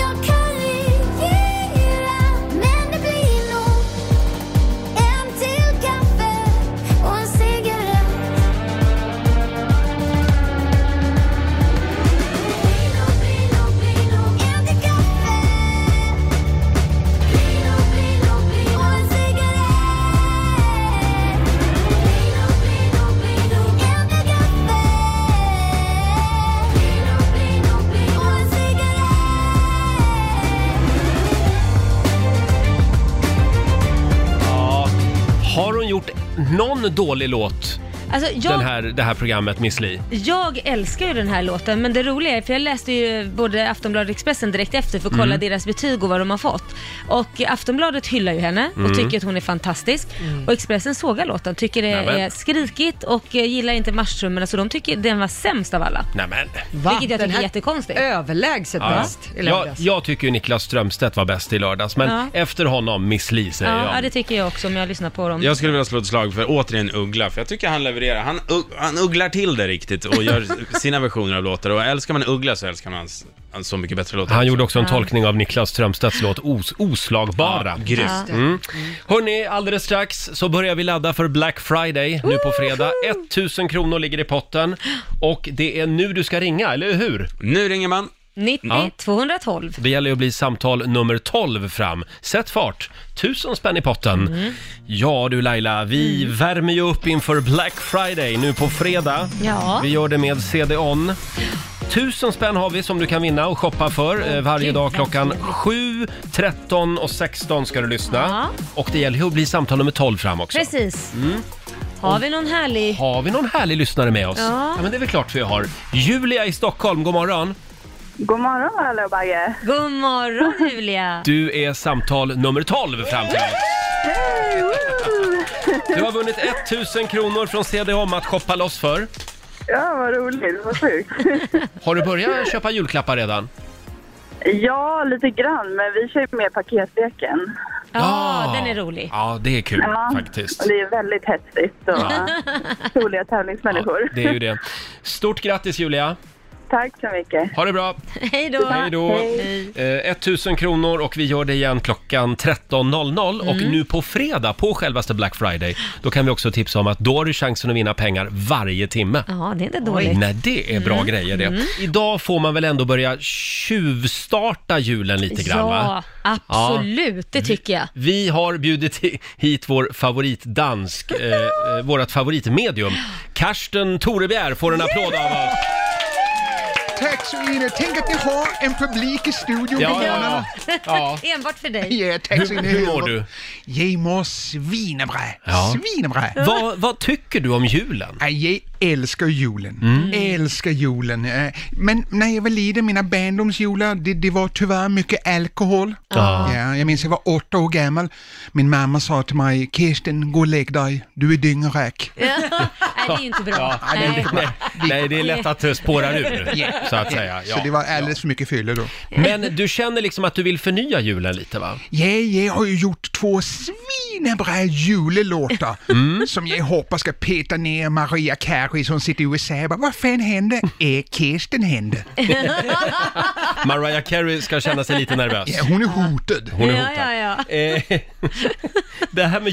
Speaker 8: Jag kan regera Men det blir nog En till kaffe och en cigarett Blir nog, blir nog, blir nog En till kaffe Blir nog, blir nog, blir nog Och en cigarett
Speaker 1: Har hon gjort någon dålig låt,
Speaker 2: (laughs) Alltså,
Speaker 1: den
Speaker 2: jag,
Speaker 1: här, det här programmet Miss Li?
Speaker 2: jag älskar ju den här låten, men det roliga är, för jag läste ju både Aftonbladet och Expressen direkt efter för att kolla deras betyg och vad de har fått. Och Aftonbladet hyllar ju henne och tycker att hon är fantastisk. Och Expressen sågar låten, tycker det
Speaker 1: Nämen.
Speaker 2: är skrikigt och eh, gillar inte marsrummen, så de tycker den var sämst av alla.
Speaker 1: Nämen.
Speaker 6: Va?
Speaker 2: Vilket
Speaker 6: Den
Speaker 2: jag tycker är
Speaker 6: här
Speaker 2: jättekonstigt.
Speaker 6: Överlägset bäst. Eller
Speaker 1: Jag,
Speaker 6: bäst.
Speaker 1: jag tycker ju Niklas Strömstedt var bäst i lördags, men
Speaker 2: Ja.
Speaker 1: efter honom Miss Li säger
Speaker 2: Ja, ja,
Speaker 1: jag.
Speaker 2: det tycker jag också om jag lyssnar på dem.
Speaker 7: Jag skulle vilja slå ett slag för återigen Uggla, för jag tycker han levererar. Han, ugg- han ugglar till det riktigt och
Speaker 1: (laughs)
Speaker 7: gör sina versioner av låtar. Och älskar man Uggla så älskar man hans, hans så mycket bättre låtar.
Speaker 1: Han
Speaker 7: också.
Speaker 1: gjorde också en tolkning av Niklas Strömstedts låt Os Oslagbara.
Speaker 7: Ja, grymt.
Speaker 1: Mm. Hörni, alldeles strax så börjar vi ladda för Black Friday nu på fredag. 1000 kronor ligger i potten och det är nu du ska ringa, eller hur?
Speaker 7: Nu ringer man.
Speaker 2: 90 212.
Speaker 1: Det gäller ju att bli samtal nummer 12 fram. Sätt fart! 1000 spänn i potten. Ja du Laila, vi värmer ju upp inför Black Friday nu på fredag.
Speaker 2: Ja.
Speaker 1: Vi gör det med CD-ON. 1000 spänn har vi som du kan vinna och shoppa för eh, varje
Speaker 2: gud,
Speaker 1: dag
Speaker 2: vad
Speaker 1: klockan
Speaker 2: trevligt.
Speaker 1: 7, 13 och 16 ska du lyssna.
Speaker 2: Ja.
Speaker 1: Och det gäller ju att bli samtal nummer 12 fram också. Mm.
Speaker 2: Precis. Har vi någon härlig...
Speaker 1: Har vi någon härlig lyssnare med oss?
Speaker 2: Ja.
Speaker 1: men det är väl klart vi har. Julia i Stockholm, god morgon.
Speaker 9: God morgon alla och Bagge.
Speaker 2: God morgon Julia!
Speaker 1: Du är samtal nummer 12 fram till oss.
Speaker 9: Hej, woo!
Speaker 1: Du har vunnit 1000 kronor från CDON att shoppa loss för.
Speaker 9: Ja, vad roligt. Vad sjukt.
Speaker 1: Har du börjat köpa julklappar redan?
Speaker 9: Ja, lite grann, men vi kör ju med paketleken.
Speaker 2: Ja,
Speaker 1: Ah.
Speaker 2: den är rolig.
Speaker 1: Ja, det är kul
Speaker 9: Ja.
Speaker 1: faktiskt.
Speaker 9: Och det är väldigt hetsigt och roliga tävlingsmänniskor.
Speaker 1: Det är ju det. Stort grattis Julia!
Speaker 9: Tack så mycket.
Speaker 1: Ha det bra!
Speaker 2: Hej då!
Speaker 1: Hej då!
Speaker 2: Hej.
Speaker 1: Eh, 1000 kronor och vi gör det igen klockan 13.00 och
Speaker 2: Mm.
Speaker 1: nu på fredag, på självaste Black Friday, då kan vi också tipsa om att då har du chansen att vinna pengar varje timme.
Speaker 2: Ja, det är inte dåligt. Mm.
Speaker 1: Nej, det är bra grejer det. Idag får man väl ändå börja tjuvstarta julen lite grann va?
Speaker 2: Ja, absolut. Det tycker jag.
Speaker 1: Vi har bjudit hi- hit vår favoritdansk, eh, eh, vårt favoritmedium. Karsten Torebjer får en applåd av oss.
Speaker 10: Tack så inne. Tänk att ni har en publik i studion
Speaker 1: Ja,
Speaker 10: på morgonen.
Speaker 1: ja, ja. ja.
Speaker 2: (laughs) Enbart för dig.
Speaker 10: Ja, tack så
Speaker 1: Hur,
Speaker 10: inne.
Speaker 1: hur mår du?
Speaker 10: Jag mår svinebra.
Speaker 1: Ja.
Speaker 10: Svinebra.
Speaker 1: Vad, vad tycker du om julen? Mm.
Speaker 10: Nej, Jag älskar julen. Älskar julen. Eh, Men när jag var liten, mina barndomsjular, det, det var tyvärr mycket alkohol. Ja, jag minns jag var åtta år gammal. Min mamma sa till mig, Kirsten, gå och lägg dig. Du är dyngrak.
Speaker 2: Nej, det är ju inte bra.
Speaker 1: Nej,
Speaker 2: Nej.
Speaker 1: det, nej, nej, det är lätt att eh, spåra ur, så att säga.
Speaker 10: Så det
Speaker 1: Ja.
Speaker 10: var alldeles för mycket fylla då.
Speaker 1: Men du känner liksom att du vill förnya julen
Speaker 10: (laughs)
Speaker 1: lite, va?
Speaker 10: Ja, jag har ju gjort två svinebra julelåtar
Speaker 1: Mm.
Speaker 10: som jag hoppas ska peta ner Maria Carey som sitter i USA och bara, vad fan
Speaker 1: (laughs)
Speaker 10: hände? Är Kirsten hände?
Speaker 1: Mariah Carey ska känna sig lite nervös.
Speaker 10: Ja, hon är hotad.
Speaker 1: Hon är
Speaker 2: Ja,
Speaker 1: hotad.
Speaker 2: ja, ja.
Speaker 1: Eh, (laughs) det här med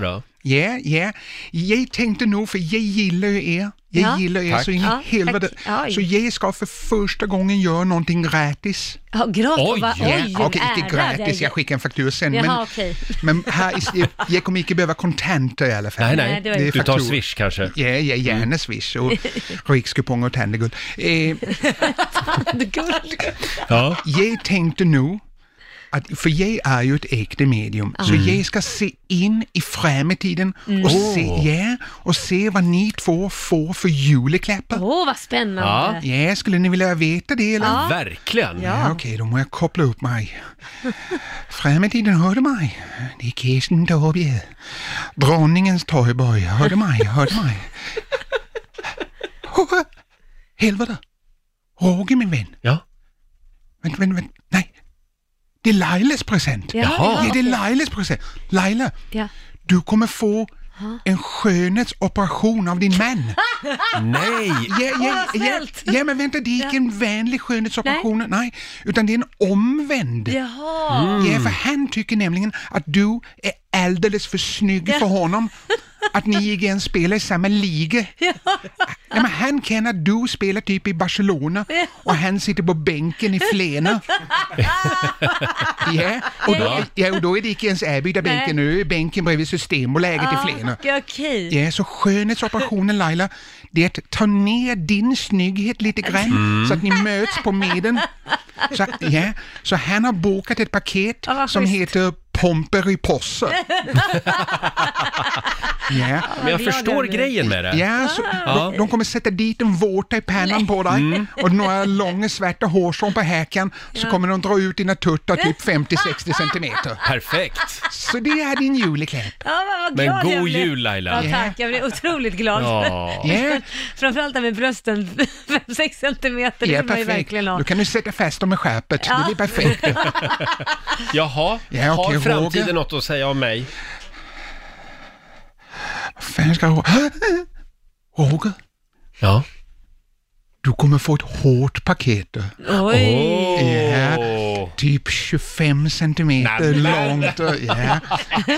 Speaker 10: (laughs)
Speaker 1: då?
Speaker 10: Ja, ja. Jag tänkte nog, för jag gillar ju er. Jag
Speaker 2: Ja.
Speaker 10: gillar er så in i
Speaker 2: Ja,
Speaker 10: helvete.
Speaker 2: tack. Oj.
Speaker 10: Så jag ska för första gången göra någonting gratis.
Speaker 2: Ja, gratis.
Speaker 1: Oj,
Speaker 2: va?
Speaker 1: ja.
Speaker 2: oj,
Speaker 10: Ja, Okej,
Speaker 2: en
Speaker 10: inte
Speaker 2: ära.
Speaker 10: gratis, jag skickar en faktura sen.
Speaker 2: Jaha,
Speaker 10: men,
Speaker 2: okej.
Speaker 10: men här, i- jag, jag kommer inte behöva kontanter i alla fall.
Speaker 1: Nej,
Speaker 2: Nej,
Speaker 1: nej.
Speaker 2: det var
Speaker 1: Du
Speaker 10: inte-
Speaker 1: tar
Speaker 10: fakturor.
Speaker 1: swish kanske? Mm.
Speaker 10: Ja, ja, gärna Swish och rikskuponger och tändeguld. Eh,
Speaker 1: Ja.
Speaker 10: jag tänkte nu, att, för jag är ju ett äkta medium,
Speaker 2: Ah.
Speaker 10: så
Speaker 1: Mm.
Speaker 10: jag ska se in i framtiden och, se, ja, och se vad ni två får för julklappar.
Speaker 2: Åh, vad spännande.
Speaker 10: Ja, skulle ni vilja veta det eller?
Speaker 1: Verkligen!
Speaker 10: Ja, Okej, då må jag koppla upp mig. Framtiden, hör du mig? Det är Kirsten Torbjer. Dronningens torgborg, hör du mig? Hör du mig? Åh, Helvete! Roger min vän,
Speaker 1: Ja.
Speaker 10: vänt, vänt, vänt. Nej! Det är Lailas present!
Speaker 2: Jaha.
Speaker 10: Ja, det är Lailas present. Laila,
Speaker 2: Ja.
Speaker 10: du kommer få en skönhetsoperation av din man.
Speaker 1: Nej!
Speaker 10: Ja, ja,
Speaker 2: vad
Speaker 10: ja,
Speaker 2: snällt.
Speaker 10: ja, men vänta, det är inte en vanlig skönhetsoperation, nej. utan det är en omvänd.
Speaker 2: Jaha.
Speaker 10: Ja, för han tycker nämligen att du är alldeles för snygg för honom. Att ni igen spelar i samma
Speaker 2: (laughs)
Speaker 10: liga. Ja. men han kan att du spelar typ i Barcelona och han sitter på bänken i
Speaker 2: (laughs)
Speaker 10: Flena. ja, och då, ja, och då är det inte ens erbjudarbänken, nu är bänken bredvid Systembolaget
Speaker 2: Ah,
Speaker 10: i Flena.
Speaker 2: Okej. okej.
Speaker 10: Ja, så skönhetsoperationen Laila, det är att ta ner din snygghet lite grann
Speaker 2: Mm.
Speaker 10: så att ni möts på mitten. Så, ja, så han har bokat ett paket
Speaker 2: Ja, vad
Speaker 10: som
Speaker 2: schysst.
Speaker 10: heter Pomperipossa. ja,
Speaker 1: Men jag
Speaker 2: glad jag
Speaker 1: förstår
Speaker 2: blir.
Speaker 1: grejen med det.
Speaker 10: ja, så
Speaker 2: Ah.
Speaker 10: de, de kommer sätta dit en vårta i pannan på dig
Speaker 2: Mm.
Speaker 10: och några långa svarta hårstrån på häcken så kommer de dra ut dina tuttar typ
Speaker 2: (laughs)
Speaker 10: 50-60 centimeter.
Speaker 1: Perfekt!
Speaker 10: Så det är din julklapp.
Speaker 2: Ja, vad, vad
Speaker 1: Men
Speaker 2: glad jag
Speaker 1: god
Speaker 2: blev.
Speaker 1: jul, Laila.
Speaker 2: Ja, tack. Jag blev otroligt glad. (laughs)
Speaker 1: Ja.
Speaker 10: Ja.
Speaker 2: Framförallt där med brösten (laughs) 5-6 centimeter. Det
Speaker 10: Ja,
Speaker 2: vill man ju
Speaker 10: perfekt.
Speaker 2: verkligen ha.
Speaker 10: Då kan du sätta fast dem med skärpet. Det blir perfekt.
Speaker 2: (laughs)
Speaker 10: (laughs) Ja,
Speaker 1: Jaha,
Speaker 10: okej,
Speaker 1: har
Speaker 10: Roger.
Speaker 1: framtiden något att säga om mig?
Speaker 10: Fan ska jag... (gasps) Roger,
Speaker 1: Ja.
Speaker 10: du kommer få ett hårt paket.
Speaker 2: Oj.
Speaker 10: Ja. Typ 25 centimeter långt. och- Ja.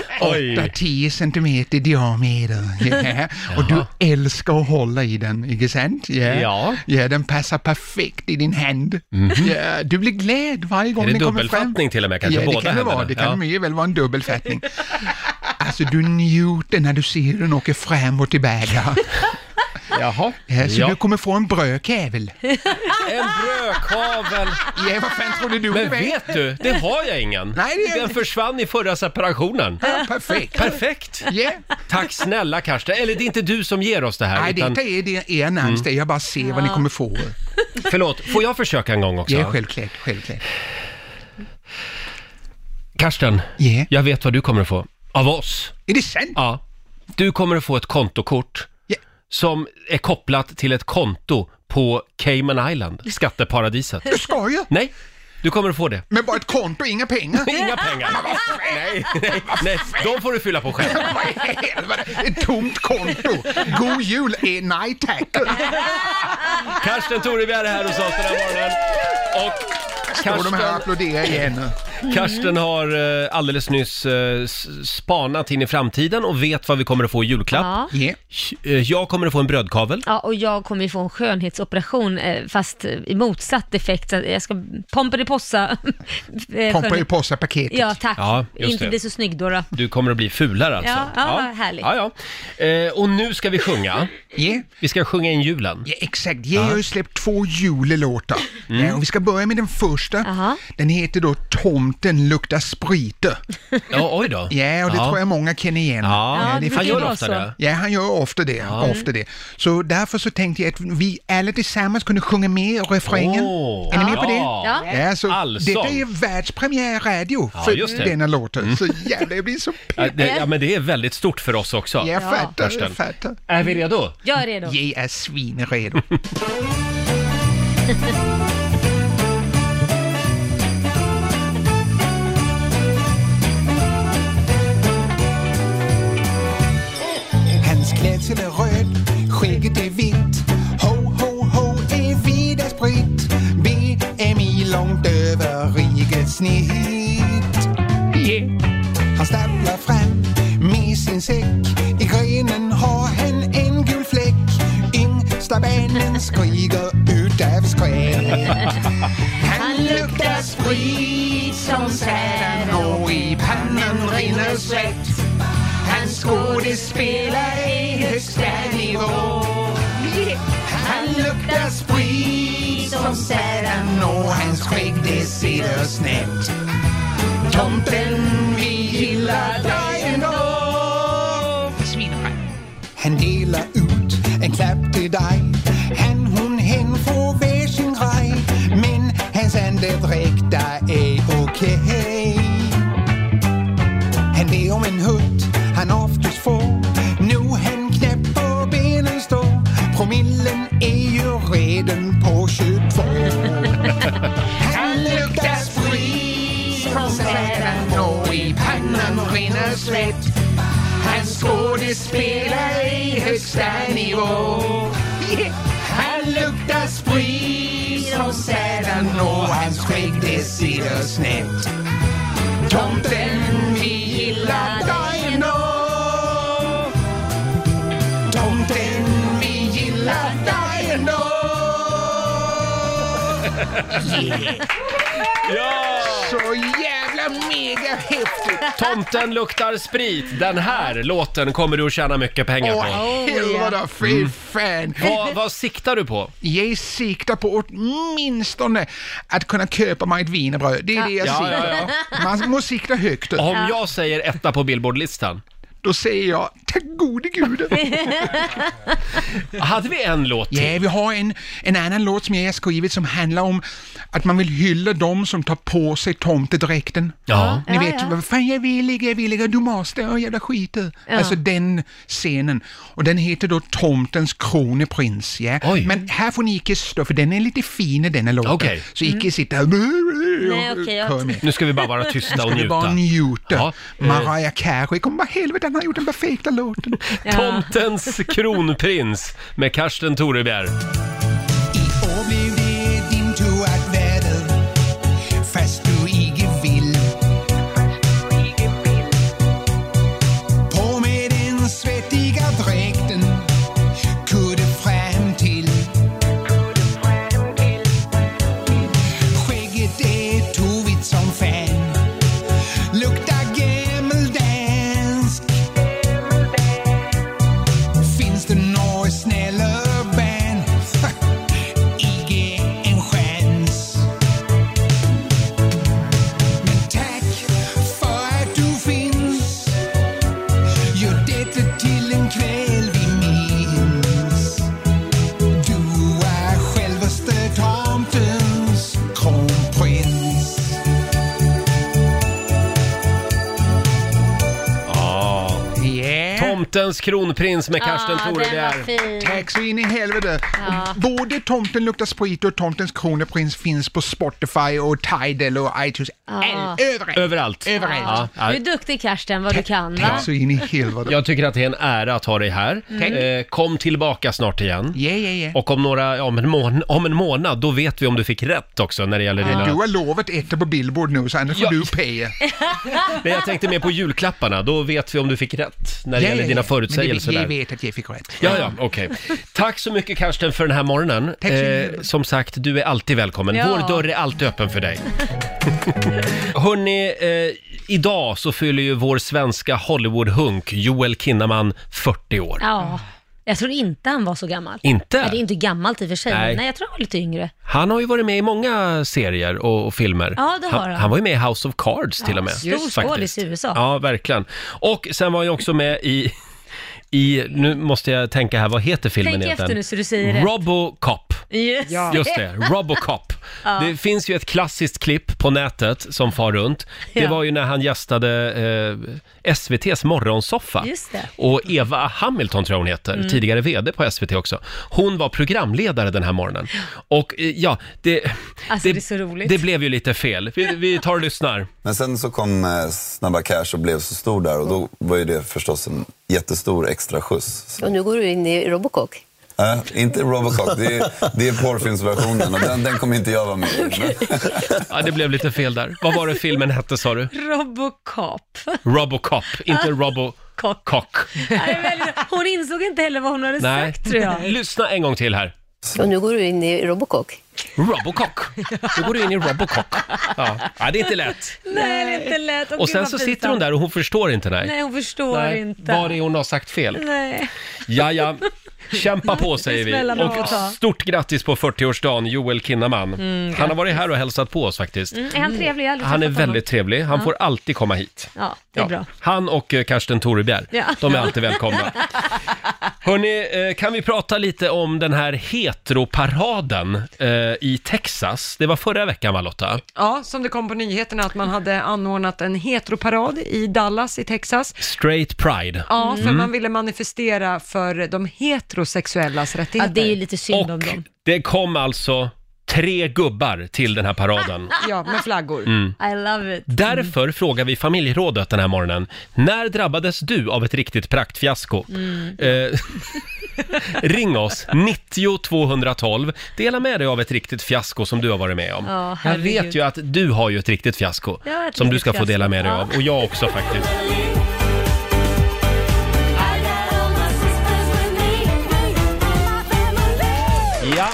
Speaker 1: (laughs) Oj!
Speaker 10: 10 centimeter i
Speaker 1: (laughs)
Speaker 10: diameter. Ja. Och du älskar att hålla i den, inte sant? Ja.
Speaker 1: Ja. Mhm.
Speaker 10: ja den passar perfekt i din hand. Ja, du blir glad varje gång
Speaker 1: Är det
Speaker 10: den kommer fram.
Speaker 1: dubbelfattning till och med kanske?
Speaker 10: ja,
Speaker 1: Båda
Speaker 10: det kan det vara.
Speaker 1: händerna?
Speaker 10: Det kan
Speaker 1: Ja.
Speaker 10: mycket väl vara en
Speaker 1: (laughs)
Speaker 10: dubbelfattning. Alltså du njuter när du ser hur den åker fram och tillbaka.
Speaker 1: (laughs) Jaha.
Speaker 10: Ja, så
Speaker 1: Ja.
Speaker 10: du kommer få en
Speaker 1: (laughs)
Speaker 10: brödkävel.
Speaker 1: En brödkavel!
Speaker 10: Ja, vad fan trodde du
Speaker 1: Men
Speaker 10: det var?
Speaker 1: vet du, det har jag ingen.
Speaker 10: Nej, det är-
Speaker 1: Den försvann i förra separationen.
Speaker 10: Ja, perfekt.
Speaker 1: Perfekt!
Speaker 10: Ja.
Speaker 1: Tack snälla Karsten. Eller det är inte du som ger oss det här.
Speaker 10: Nej,
Speaker 1: utan-
Speaker 10: detta är det er
Speaker 1: Mm.
Speaker 10: närmaste. Jag bara ser vad ni kommer få.
Speaker 1: Förlåt, får jag försöka en gång också?
Speaker 10: Ja, självklart, självklart.
Speaker 1: Karsten,
Speaker 10: Ja.
Speaker 1: jag vet vad du kommer att få. Av oss.
Speaker 10: Är det sant?
Speaker 1: Ja. Du kommer att få ett kontokort
Speaker 10: Ja.
Speaker 1: som är kopplat till ett konto på Cayman Island, skatteparadiset.
Speaker 10: Du skojar?
Speaker 1: Nej, Du kommer att få det.
Speaker 10: Men bara ett konto, inga pengar.
Speaker 1: Inga pengar. Nej, nej, (laughs) nej, de får du fylla på själv.
Speaker 10: Vad i helvete? Ett tomt konto. God jul, eh, nej tack.
Speaker 1: Karsten Torebjer är här hos oss den här morgonen. Och
Speaker 10: Står de här och applåderar igen.
Speaker 1: Karsten har eh, alldeles nyss eh, s- spanat in i framtiden och vet vad vi kommer att få i julklapp.
Speaker 2: Ja.
Speaker 1: Eh, Jag kommer att få en brödkavel.
Speaker 2: Ja, och jag kommer ju få en skönhetsoperation eh, fast i motsatt effekt. Så att Jag ska Pomperipossa. (laughs) eh, skönhet-
Speaker 10: Pomperipossa-paketet.
Speaker 2: Ja, tack.
Speaker 1: Ja, just
Speaker 2: Inte
Speaker 1: det.
Speaker 2: bli så snygg då. då.
Speaker 1: Du kommer att bli fulare alltså.
Speaker 2: Ja, ja, vad härligt.
Speaker 1: Ja, ja. Eh, och nu ska vi sjunga.
Speaker 10: Yeah.
Speaker 1: Vi ska sjunga in julen.
Speaker 10: Ja, exakt. Jag har ju släppt två julelåtar.
Speaker 1: Mm.
Speaker 10: Ja, och vi ska börja med den första. Den heter då Tomten luktar sprite.
Speaker 1: Ja, oj då.
Speaker 10: Ja, och det
Speaker 1: Ja.
Speaker 10: tror jag många känner igen. Eh,
Speaker 1: Ja,
Speaker 10: det är
Speaker 1: det
Speaker 10: för
Speaker 1: han gör
Speaker 10: kul.
Speaker 1: ofta det.
Speaker 10: Ja, han gör ofta det, ofta det. Så därför så tänkte jag att vi alla tillsammans kunde sjunga med i refrängen.
Speaker 1: Åh,
Speaker 10: är ni med på det?
Speaker 1: ja.
Speaker 10: så
Speaker 1: Allsång.
Speaker 10: Detta är världspremiär radio
Speaker 1: Ja,
Speaker 10: för
Speaker 1: just det. Mm.
Speaker 10: denna låten. Så jävlar, jag blir så
Speaker 1: Ja,
Speaker 10: pepp.
Speaker 1: det, ja, men det är väldigt stort för oss också.
Speaker 10: Jag fattar, jag
Speaker 1: Karsten.
Speaker 10: fattar.
Speaker 1: Är vi redo?
Speaker 2: Jag är redo.
Speaker 10: Jag är
Speaker 1: (laughs)
Speaker 10: svinredo.
Speaker 11: Hans klädsel är röd, skägget är vitt. Ho, ho, ho är vida spritt. BMI långt över rikets snitt. Han stapplar fram med sin säck. I grenen har han en gul fläck. Yngsta benen skriker utav skräck. Han luktar sprit som satan och i pannan rinner svett. Hans skådespel är högsta nivå. Han luktar sprit som satan och hans skägg det sitter snett. Tomten, vi gillar dig ändå. Han delar ut en klapp till dig. Han, hon, hen får varsin grej. Men hans er andedräkt, där är okej. Han ber om en hutt han oftast får. Nu han knäpp på benen står. Promillen är ju redan på 22. (laughs) Han luktar sprit från städan och i pannan rinner svett. Hans skådespel är i högsta (laughs) nivå. Han luktar sprit från städan och hans skägg det sitter snett. Tomten, vi gillar dig ändå Tomten, vi gillar dig ändå
Speaker 1: (laughs)
Speaker 10: Så jävla mega häftigt!
Speaker 1: Tomten luktar sprit. Den här låten kommer du att tjäna mycket pengar
Speaker 10: Åh
Speaker 1: på.
Speaker 10: helvete, fy fan!
Speaker 1: Mm. Vad, vad siktar du på?
Speaker 10: Jag siktar på åtminstone att kunna köpa mig ett wienerbröd. Det är det jag
Speaker 1: Ja,
Speaker 10: siktar
Speaker 1: ja,
Speaker 10: på. Man må sikta högt.
Speaker 1: Om jag säger etta på Billboardlistan,
Speaker 10: Då säger jag, tack gode gud.
Speaker 1: hade vi en låt till?
Speaker 10: Ja, vi har en, en annan låt som jag har skrivit som handlar om att man vill hylla dem som tar på sig tomtedräkten.
Speaker 1: Ja.
Speaker 10: Ni
Speaker 2: Ja,
Speaker 10: vet,
Speaker 2: ja.
Speaker 10: vad fan jag vill ligga, jag vill ligga, du måste, åh jävla skiten.
Speaker 2: Ja.
Speaker 10: Alltså den scenen. Och den heter då Tomtens kroneprins. Ja.
Speaker 1: Oj.
Speaker 10: Men här får ni icke stå, för den är lite fin den här låten.
Speaker 1: Okej.
Speaker 10: Så icke sitta och Nej,
Speaker 2: Mm. okej, jag-
Speaker 10: kör med.
Speaker 1: Nu ska vi bara vara tysta och
Speaker 10: Det var
Speaker 1: njuta.
Speaker 10: njuta.
Speaker 1: Ja, eh.
Speaker 10: Mariah Carey, kom bara helvete, han har gjort den perfekta låten.
Speaker 1: (laughs) Tomtens kronprins med Karsten Torebjer.
Speaker 11: I år blev det din tur att väder Fast du icke vill På med den svettiga dräkten Kudde fram till Skägget är tovigt som fan Luktar gammeldansk Finns det några snälla band?
Speaker 1: Tomtens kronprins med
Speaker 10: Ja,
Speaker 1: Karsten Torebjer.
Speaker 10: Tack så in i helvete.
Speaker 1: Ja.
Speaker 10: Både Tomten luktar sprit och Tomtens kroneprins finns på Spotify och Tidal och iTunes.
Speaker 2: Ja.
Speaker 10: Överallt. Ah.
Speaker 1: Överallt.
Speaker 10: Överallt.
Speaker 1: Ja.
Speaker 2: Du är Ah. duktig Karsten, vad du kan va?
Speaker 10: in i helvete.
Speaker 1: Jag tycker att det är en ära att ha dig här.
Speaker 2: Mm.
Speaker 1: Eh, kom tillbaka snart igen.
Speaker 10: Yeah, yeah, yeah.
Speaker 1: Och om, några, ja, om, en mån, om en månad, då vet vi om du fick rätt också när det gäller dina...
Speaker 10: Ah. Du har lovat etta på Billboard nu så annars får du
Speaker 2: (laughs)
Speaker 10: peja.
Speaker 1: Nej, jag tänkte mer på julklapparna. Då vet vi om du fick rätt när det
Speaker 10: Ja,
Speaker 1: gäller
Speaker 10: ja,
Speaker 1: dina
Speaker 10: ja.
Speaker 1: förutsägelser
Speaker 10: Men det-
Speaker 1: där.
Speaker 10: Jag vet att jag fick rätt.
Speaker 1: Ja, ja, okej. Tack så mycket Karsten för den här morgonen. Eh,
Speaker 10: Tack så mycket.
Speaker 1: som sagt, du är alltid välkommen.
Speaker 10: Ja.
Speaker 1: Vår dörr är alltid öppen för dig. (laughs) Hörni, eh, idag så fyller ju vår svenska Hollywood-hunk Joel Kinnaman 40 år.
Speaker 2: Ja. Jag tror inte han var så gammal.
Speaker 1: Inte?
Speaker 2: Nej, det är inte gammalt i och för sig.
Speaker 1: Nej.
Speaker 2: Nej, Nej jag tror han var lite yngre.
Speaker 1: Han har ju varit med i många serier och, och filmer.
Speaker 2: Ja, det har
Speaker 1: han.
Speaker 2: han.
Speaker 1: Han var ju med i House of Cards till och med.
Speaker 2: stor
Speaker 1: faktiskt.
Speaker 2: skådis i USA.
Speaker 1: Ja, verkligen. Och sen var han ju också med i, i, nu måste jag tänka här, vad heter filmen
Speaker 2: Tänk
Speaker 1: egentligen?
Speaker 2: efter nu så du säger rätt.
Speaker 1: Robocop.
Speaker 2: Just,
Speaker 1: Just det, Robocop.
Speaker 2: Ja.
Speaker 1: Det finns ju ett klassiskt klipp på nätet som far runt. Det
Speaker 2: Ja.
Speaker 1: var ju när han gästade eh, SVTs morgonsoffa.
Speaker 2: Just det.
Speaker 1: Och Eva Hamilton tror jag hon heter,
Speaker 2: Mm.
Speaker 1: tidigare VD på SVT också. Hon var programledare den här morgonen. Och eh, ja, det,
Speaker 2: Alltså det, är så roligt.
Speaker 1: det blev ju lite fel. Vi, vi tar och lyssnar.
Speaker 12: Men sen så kom eh, Snabba Cash och blev så stor där och då var ju det förstås en jättestor extra skjuts.
Speaker 13: Och nu går du in i Robocop.
Speaker 12: Äh, inte Robocop, det är, det är porrfilmsversionen och den, den kommer inte jag vara med i. Men-
Speaker 1: Ja, det blev lite fel där. Vad var det filmen hette sa du?
Speaker 2: Robocop. (laughs)
Speaker 1: Robocop, inte
Speaker 2: Ah.
Speaker 1: Robocock.
Speaker 2: Nej, men Hon insåg inte heller vad hon hade
Speaker 1: Nej.
Speaker 2: sagt tror jag.
Speaker 1: Lyssna en gång till här.
Speaker 13: Och nu går du in i Robocop.
Speaker 1: Robocock. Då går du in i Robocock. Ja. ja, det är inte lätt.
Speaker 2: Nej, det är inte lätt. Åh,
Speaker 1: Och
Speaker 2: gud,
Speaker 1: sen
Speaker 2: vad
Speaker 1: så
Speaker 2: pinsamt.
Speaker 1: sitter hon där och hon förstår inte. Nej,
Speaker 2: Nej, hon förstår inte.
Speaker 1: Vad det är hon har sagt fel.
Speaker 2: Nej.
Speaker 1: Ja, ja. Kämpa på säger
Speaker 2: Snälla
Speaker 1: vi.
Speaker 2: någon
Speaker 1: Och
Speaker 2: får ta.
Speaker 1: stort grattis på 40-årsdagen Joel Kinnaman.
Speaker 2: Mm,
Speaker 1: han har varit här och hälsat på oss faktiskt.
Speaker 2: Mm, är han trevlig? Jag har aldrig
Speaker 1: Han är
Speaker 2: träffat honom.
Speaker 1: väldigt trevlig. Han
Speaker 2: Ja.
Speaker 1: får alltid komma hit.
Speaker 2: Ja, det är bra.
Speaker 1: Han och eh, Karsten Torebjer,
Speaker 2: Ja.
Speaker 1: de är alltid
Speaker 2: (laughs)
Speaker 1: välkomna. Hörni, eh, kan vi prata lite om den här heteroparaden eh, i Texas? Det var förra veckan va Lotta?
Speaker 6: Ja, som det kom på nyheterna att man hade anordnat en heteroparad i Dallas i Texas.
Speaker 1: Straight Pride.
Speaker 6: Ja, för
Speaker 1: Mm.
Speaker 6: man ville manifestera för de heterosexuellas rättigheter.
Speaker 2: Ja, det är ju lite synd om dem.
Speaker 1: Det kom alltså tre gubbar till den här
Speaker 2: (laughs) Mm.
Speaker 1: paraden.
Speaker 6: Ja, med flaggor. Mm.
Speaker 1: Mm.
Speaker 2: I love it.
Speaker 1: Därför frågar vi familjerådet den här morgonen. När drabbades du av ett riktigt praktfiasko?
Speaker 2: Mm.
Speaker 1: Eh, (laughs) ring oss, 90 212. Dela med dig av ett riktigt fiasko som du har varit med om.
Speaker 2: Ja,
Speaker 1: jag
Speaker 2: herregud.
Speaker 1: vet ju att du har ju ett riktigt fiasko
Speaker 2: Jag har ett
Speaker 1: som du
Speaker 2: riktigt
Speaker 1: ska få
Speaker 2: fiasko.
Speaker 1: dela med dig
Speaker 2: Ja.
Speaker 1: av. Och jag också faktiskt. Ja.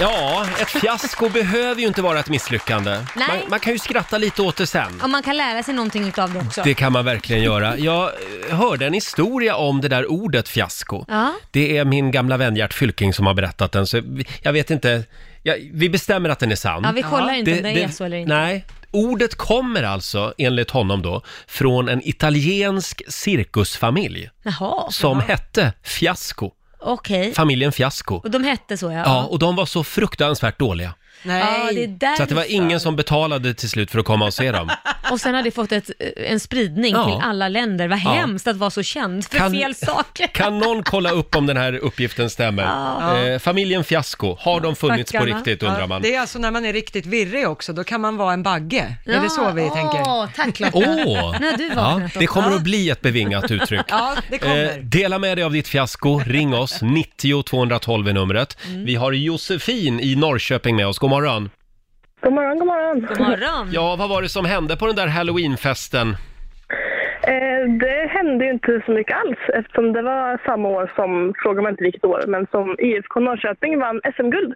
Speaker 1: Ja, ett fiasko behöver ju inte vara ett misslyckande.
Speaker 2: Nej.
Speaker 1: Man, man kan ju skratta lite åt det sen.
Speaker 2: Om man kan lära sig någonting utav det också.
Speaker 1: Det kan man verkligen göra. Jag eh, hörde en historia om det där ordet fiasko.
Speaker 2: Ja.
Speaker 1: Det är min gamla vän Gert Fylking som har berättat den, så vi- jag vet inte. Jag, vi bestämmer att den är sann.
Speaker 2: Ja, vi kollar inte om den är så eller inte.
Speaker 1: Nej. Ordet kommer alltså, enligt honom då, från en italiensk cirkusfamilj
Speaker 2: Jaha.
Speaker 1: som hette Fiasco.
Speaker 2: Okej.
Speaker 1: Familjen Fiasco.
Speaker 2: Och de hette så ja.
Speaker 1: Ja, och de var så fruktansvärt dåliga.
Speaker 2: Nej. Ja, det är därför.
Speaker 1: Så att det var ingen som betalade till slut för att komma och se
Speaker 2: (laughs)
Speaker 1: dem.
Speaker 2: Och sen har det fått ett, en spridning
Speaker 1: Ja.
Speaker 2: till alla länder. Vad
Speaker 1: Ja.
Speaker 2: hemskt att vara så känd för
Speaker 1: Kan- (laughs)
Speaker 2: fel saker.
Speaker 1: Kan någon kolla upp om den här uppgiften stämmer?
Speaker 6: Ja.
Speaker 1: Eh, familjen Fiasko, har de funnits på
Speaker 6: Stackarna.
Speaker 1: riktigt undrar
Speaker 6: Ja,
Speaker 1: man?
Speaker 6: Det är alltså när man är riktigt virrig också, då kan man vara en bagge. är det så vi tänker?
Speaker 2: Tack
Speaker 1: Åh! det kommer att bli ett bevingat uttryck. Eh,
Speaker 6: Ja, det kommer.
Speaker 1: dela med dig av ditt fiasko, ring oss, 90 212 är numret. Vi har Josefin i Norrköping med oss, god morgon.
Speaker 14: God morgon, god morgon. God
Speaker 2: morgon.
Speaker 1: Ja, vad var det som hände på den där halloweenfesten?
Speaker 14: Eh, det hände ju inte så mycket alls eftersom det var samma år som, frågar man inte vilket år, men som IFK Norrköping vann SM-guld.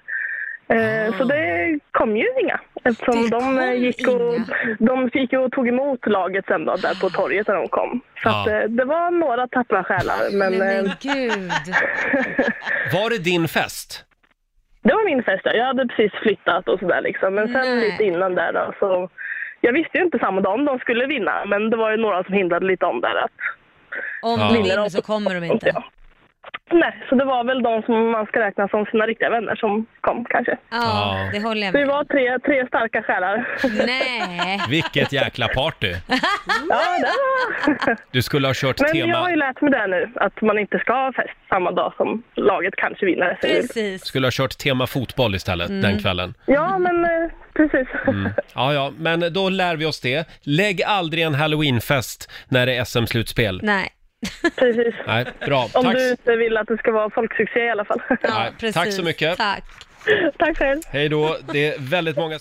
Speaker 14: Eh, Så det kom ju inga eftersom de eh, gick, och, de gick och tog emot laget sen då, där på torget när de kom. Så
Speaker 1: Ja.
Speaker 14: att, eh, det var några tappra själar men,
Speaker 2: Men
Speaker 14: eh,
Speaker 2: gud.
Speaker 1: Var det din fest?
Speaker 14: det var min fest. ja. Jag hade precis flyttat och sådär liksom. Men sen lite innan där då, så jag visste ju inte samma dag om de skulle vinna men det var ju några som hindrade lite om där att
Speaker 2: Om
Speaker 14: Ja.
Speaker 2: de vinner så kommer de inte.
Speaker 14: Nej, så det var väl de som man ska räkna som sina riktiga vänner som kom kanske.
Speaker 2: Ja, det håller jag
Speaker 14: Vi
Speaker 2: med
Speaker 14: var tre, tre starka själar.
Speaker 2: Nej.
Speaker 1: Vilket jäkla party!
Speaker 14: (laughs) ja, det var...
Speaker 1: Du skulle ha kört
Speaker 14: Men jag
Speaker 1: tema...
Speaker 14: har ju lärt mig det nu, att man inte ska ha fest samma dag som laget kanske vinner. SM.
Speaker 1: Skulle ha kört tema fotboll istället
Speaker 14: Mm.
Speaker 1: den kvällen.
Speaker 14: Ja, men eh, precis.
Speaker 1: Ja, ja, men då lär vi oss det. Lägg aldrig en halloweenfest när det är SM-slutspel.
Speaker 2: Nej.
Speaker 14: precis.
Speaker 1: Nej, bra.
Speaker 14: Om
Speaker 1: Tack,
Speaker 14: du inte vill att det ska vara folksuccé i alla fall.
Speaker 1: Nej, precis. tack så mycket.
Speaker 2: Tack.
Speaker 14: Tack själv.
Speaker 1: hej då. Det är väldigt många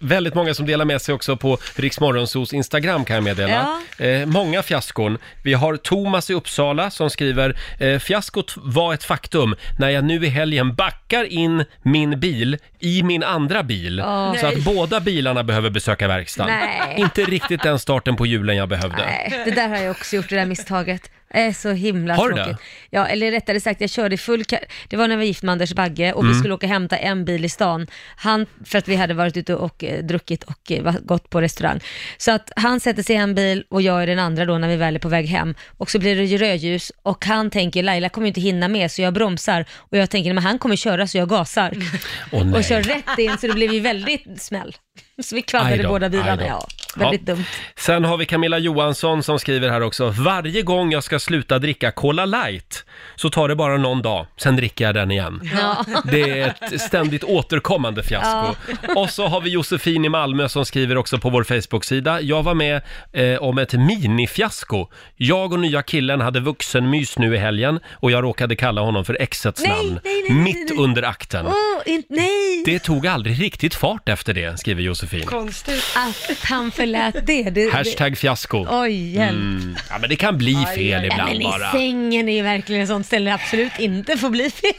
Speaker 1: Väldigt många som delar med sig också på Riksmorgonsos Instagram kan jag meddela. Eh, många fiaskon. Vi har Thomas i Uppsala som skriver eh, “Fiaskot var ett faktum när jag nu i helgen backar in min bil i min andra bil.
Speaker 2: Åh.
Speaker 1: Så
Speaker 2: Nej.
Speaker 1: att båda bilarna behöver besöka verkstaden.
Speaker 2: Nej.
Speaker 1: Inte riktigt den starten på julen jag behövde.
Speaker 2: Nej, (laughs) det där har jag också gjort, det där misstaget. Det är så himla
Speaker 1: Har du
Speaker 2: tråkigt.
Speaker 1: det?
Speaker 2: Ja, eller rättare sagt, jag körde i full ka- Det var när vi var gift med Anders Bagge och vi
Speaker 1: Mm.
Speaker 2: skulle åka och hämta en bil i stan. Han, för att vi hade varit ute och eh, druckit och eh, var- gått på restaurang. Så att han sätter sig i en bil och jag i den andra då när vi väl är på väg hem. Och så blir det ju rödljus och han tänker, Laila kommer ju inte hinna med så jag bromsar. Och jag tänker, men han kommer köra så jag gasar.
Speaker 1: Mm. Åh, nej.
Speaker 2: och kör rätt in så det blev ju väldigt smäll. Så vi
Speaker 1: Aj
Speaker 2: kvaddade
Speaker 1: då,
Speaker 2: båda
Speaker 1: aj då.
Speaker 2: bilarna. Ja, väldigt
Speaker 1: Ja.
Speaker 2: dumt.
Speaker 1: Sen har vi Camilla Johansson som skriver här också. Varje gång jag ska sluta dricka Cola light så tar det bara någon dag, sen dricker jag den igen.
Speaker 2: (laughs) Ja.
Speaker 1: Det är
Speaker 2: (laughs)
Speaker 1: ett ständigt återkommande fiasko. Och så har vi Josefin i Malmö som skriver också på vår Facebook-sida. Jag var med eh, om ett minifiasko. Jag och nya killen hade vuxenmys nu i helgen och jag råkade kalla honom för exets
Speaker 2: Nej,
Speaker 1: namn.
Speaker 2: nej, nej, nej,
Speaker 1: mitt
Speaker 2: nej.
Speaker 1: under akten.
Speaker 2: Åh, in- nej!
Speaker 1: Det tog aldrig riktigt fart efter det, skriver Josefin.
Speaker 2: Konstigt. Att han förlät det.
Speaker 1: (laughs)
Speaker 2: det
Speaker 1: Hashtag fiasko.
Speaker 2: Det. Oj, hjälp.
Speaker 1: Mm. Ja, men det kan bli
Speaker 2: Aj,
Speaker 1: fel
Speaker 2: aj, aj.
Speaker 1: ibland
Speaker 2: men
Speaker 1: bara.
Speaker 2: I sängen är ju verkligen ett sånt ställe det absolut inte får bli fel.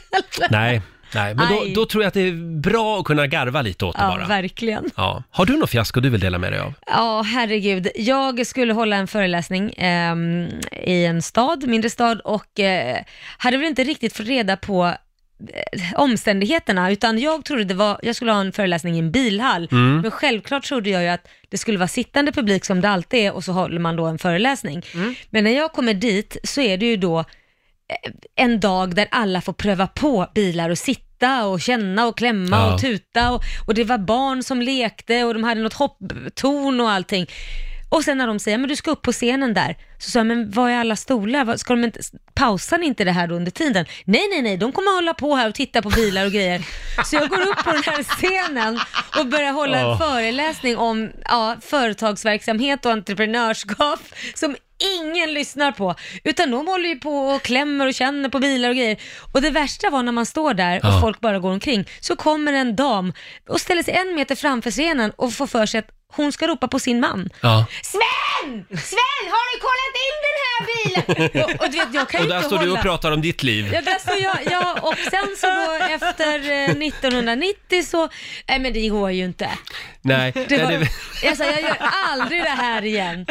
Speaker 1: Nej, nej. men då,
Speaker 2: Aj.
Speaker 1: då tror jag att det är bra att kunna garva lite åt det
Speaker 2: Ja,
Speaker 1: bara.
Speaker 2: verkligen.
Speaker 1: Ja. Har du något fiasko du vill dela med dig av?
Speaker 2: Ja, herregud. Jag skulle hålla en föreläsning ehm, i en stad, mindre stad, och eh, hade väl inte riktigt fått reda på eh, omständigheterna, utan jag trodde det var, jag skulle ha en föreläsning i en bilhall,
Speaker 15: Mm.
Speaker 2: men självklart trodde jag ju att det skulle vara sittande publik som det alltid är och så håller man då en föreläsning. Men när jag kommer dit så är det ju då eh, en dag där alla får pröva på bilar och sitta och känna och klämma
Speaker 15: Ja.
Speaker 2: och tuta och, och det var barn som lekte och de hade något hopptorn och allting. Och sen när de säger, men du ska upp på scenen där, så sa jag, men var är alla stolar? Vad- Ska de inte, pausar ni inte det här då under tiden? Nej, nej, nej, de kommer hålla på här och titta på bilar och grejer. Så jag går upp på den här scenen och börjar hålla en
Speaker 15: Ja.
Speaker 2: föreläsning om ja, företagsverksamhet och entreprenörskap (laughs) som ingen lyssnar på. Utan de håller ju på och klämmer och känner på bilar och grejer. Och det värsta var när man står där och
Speaker 15: Ja.
Speaker 2: folk bara går omkring, så kommer en dam och ställer sig en meter framför scenen och får för sig att hon ska ropa på sin man.
Speaker 1: Ja.
Speaker 2: Sven! Sven, har du kollat in den här
Speaker 1: (laughs)
Speaker 2: bilen? (laughs) Och, och du vet, jag kan
Speaker 1: och
Speaker 2: ju
Speaker 1: där
Speaker 2: inte
Speaker 1: står
Speaker 2: hålla.
Speaker 1: du och pratar om ditt liv.
Speaker 2: Ja, där står jag, ja, och sen
Speaker 1: (laughs)
Speaker 2: så då efter eh, 1990 så, nej men det går ju inte.
Speaker 1: Nej,
Speaker 2: (laughs) Det
Speaker 1: nej,
Speaker 2: var,
Speaker 1: det...
Speaker 2: jag sa, jag gör aldrig det här igen.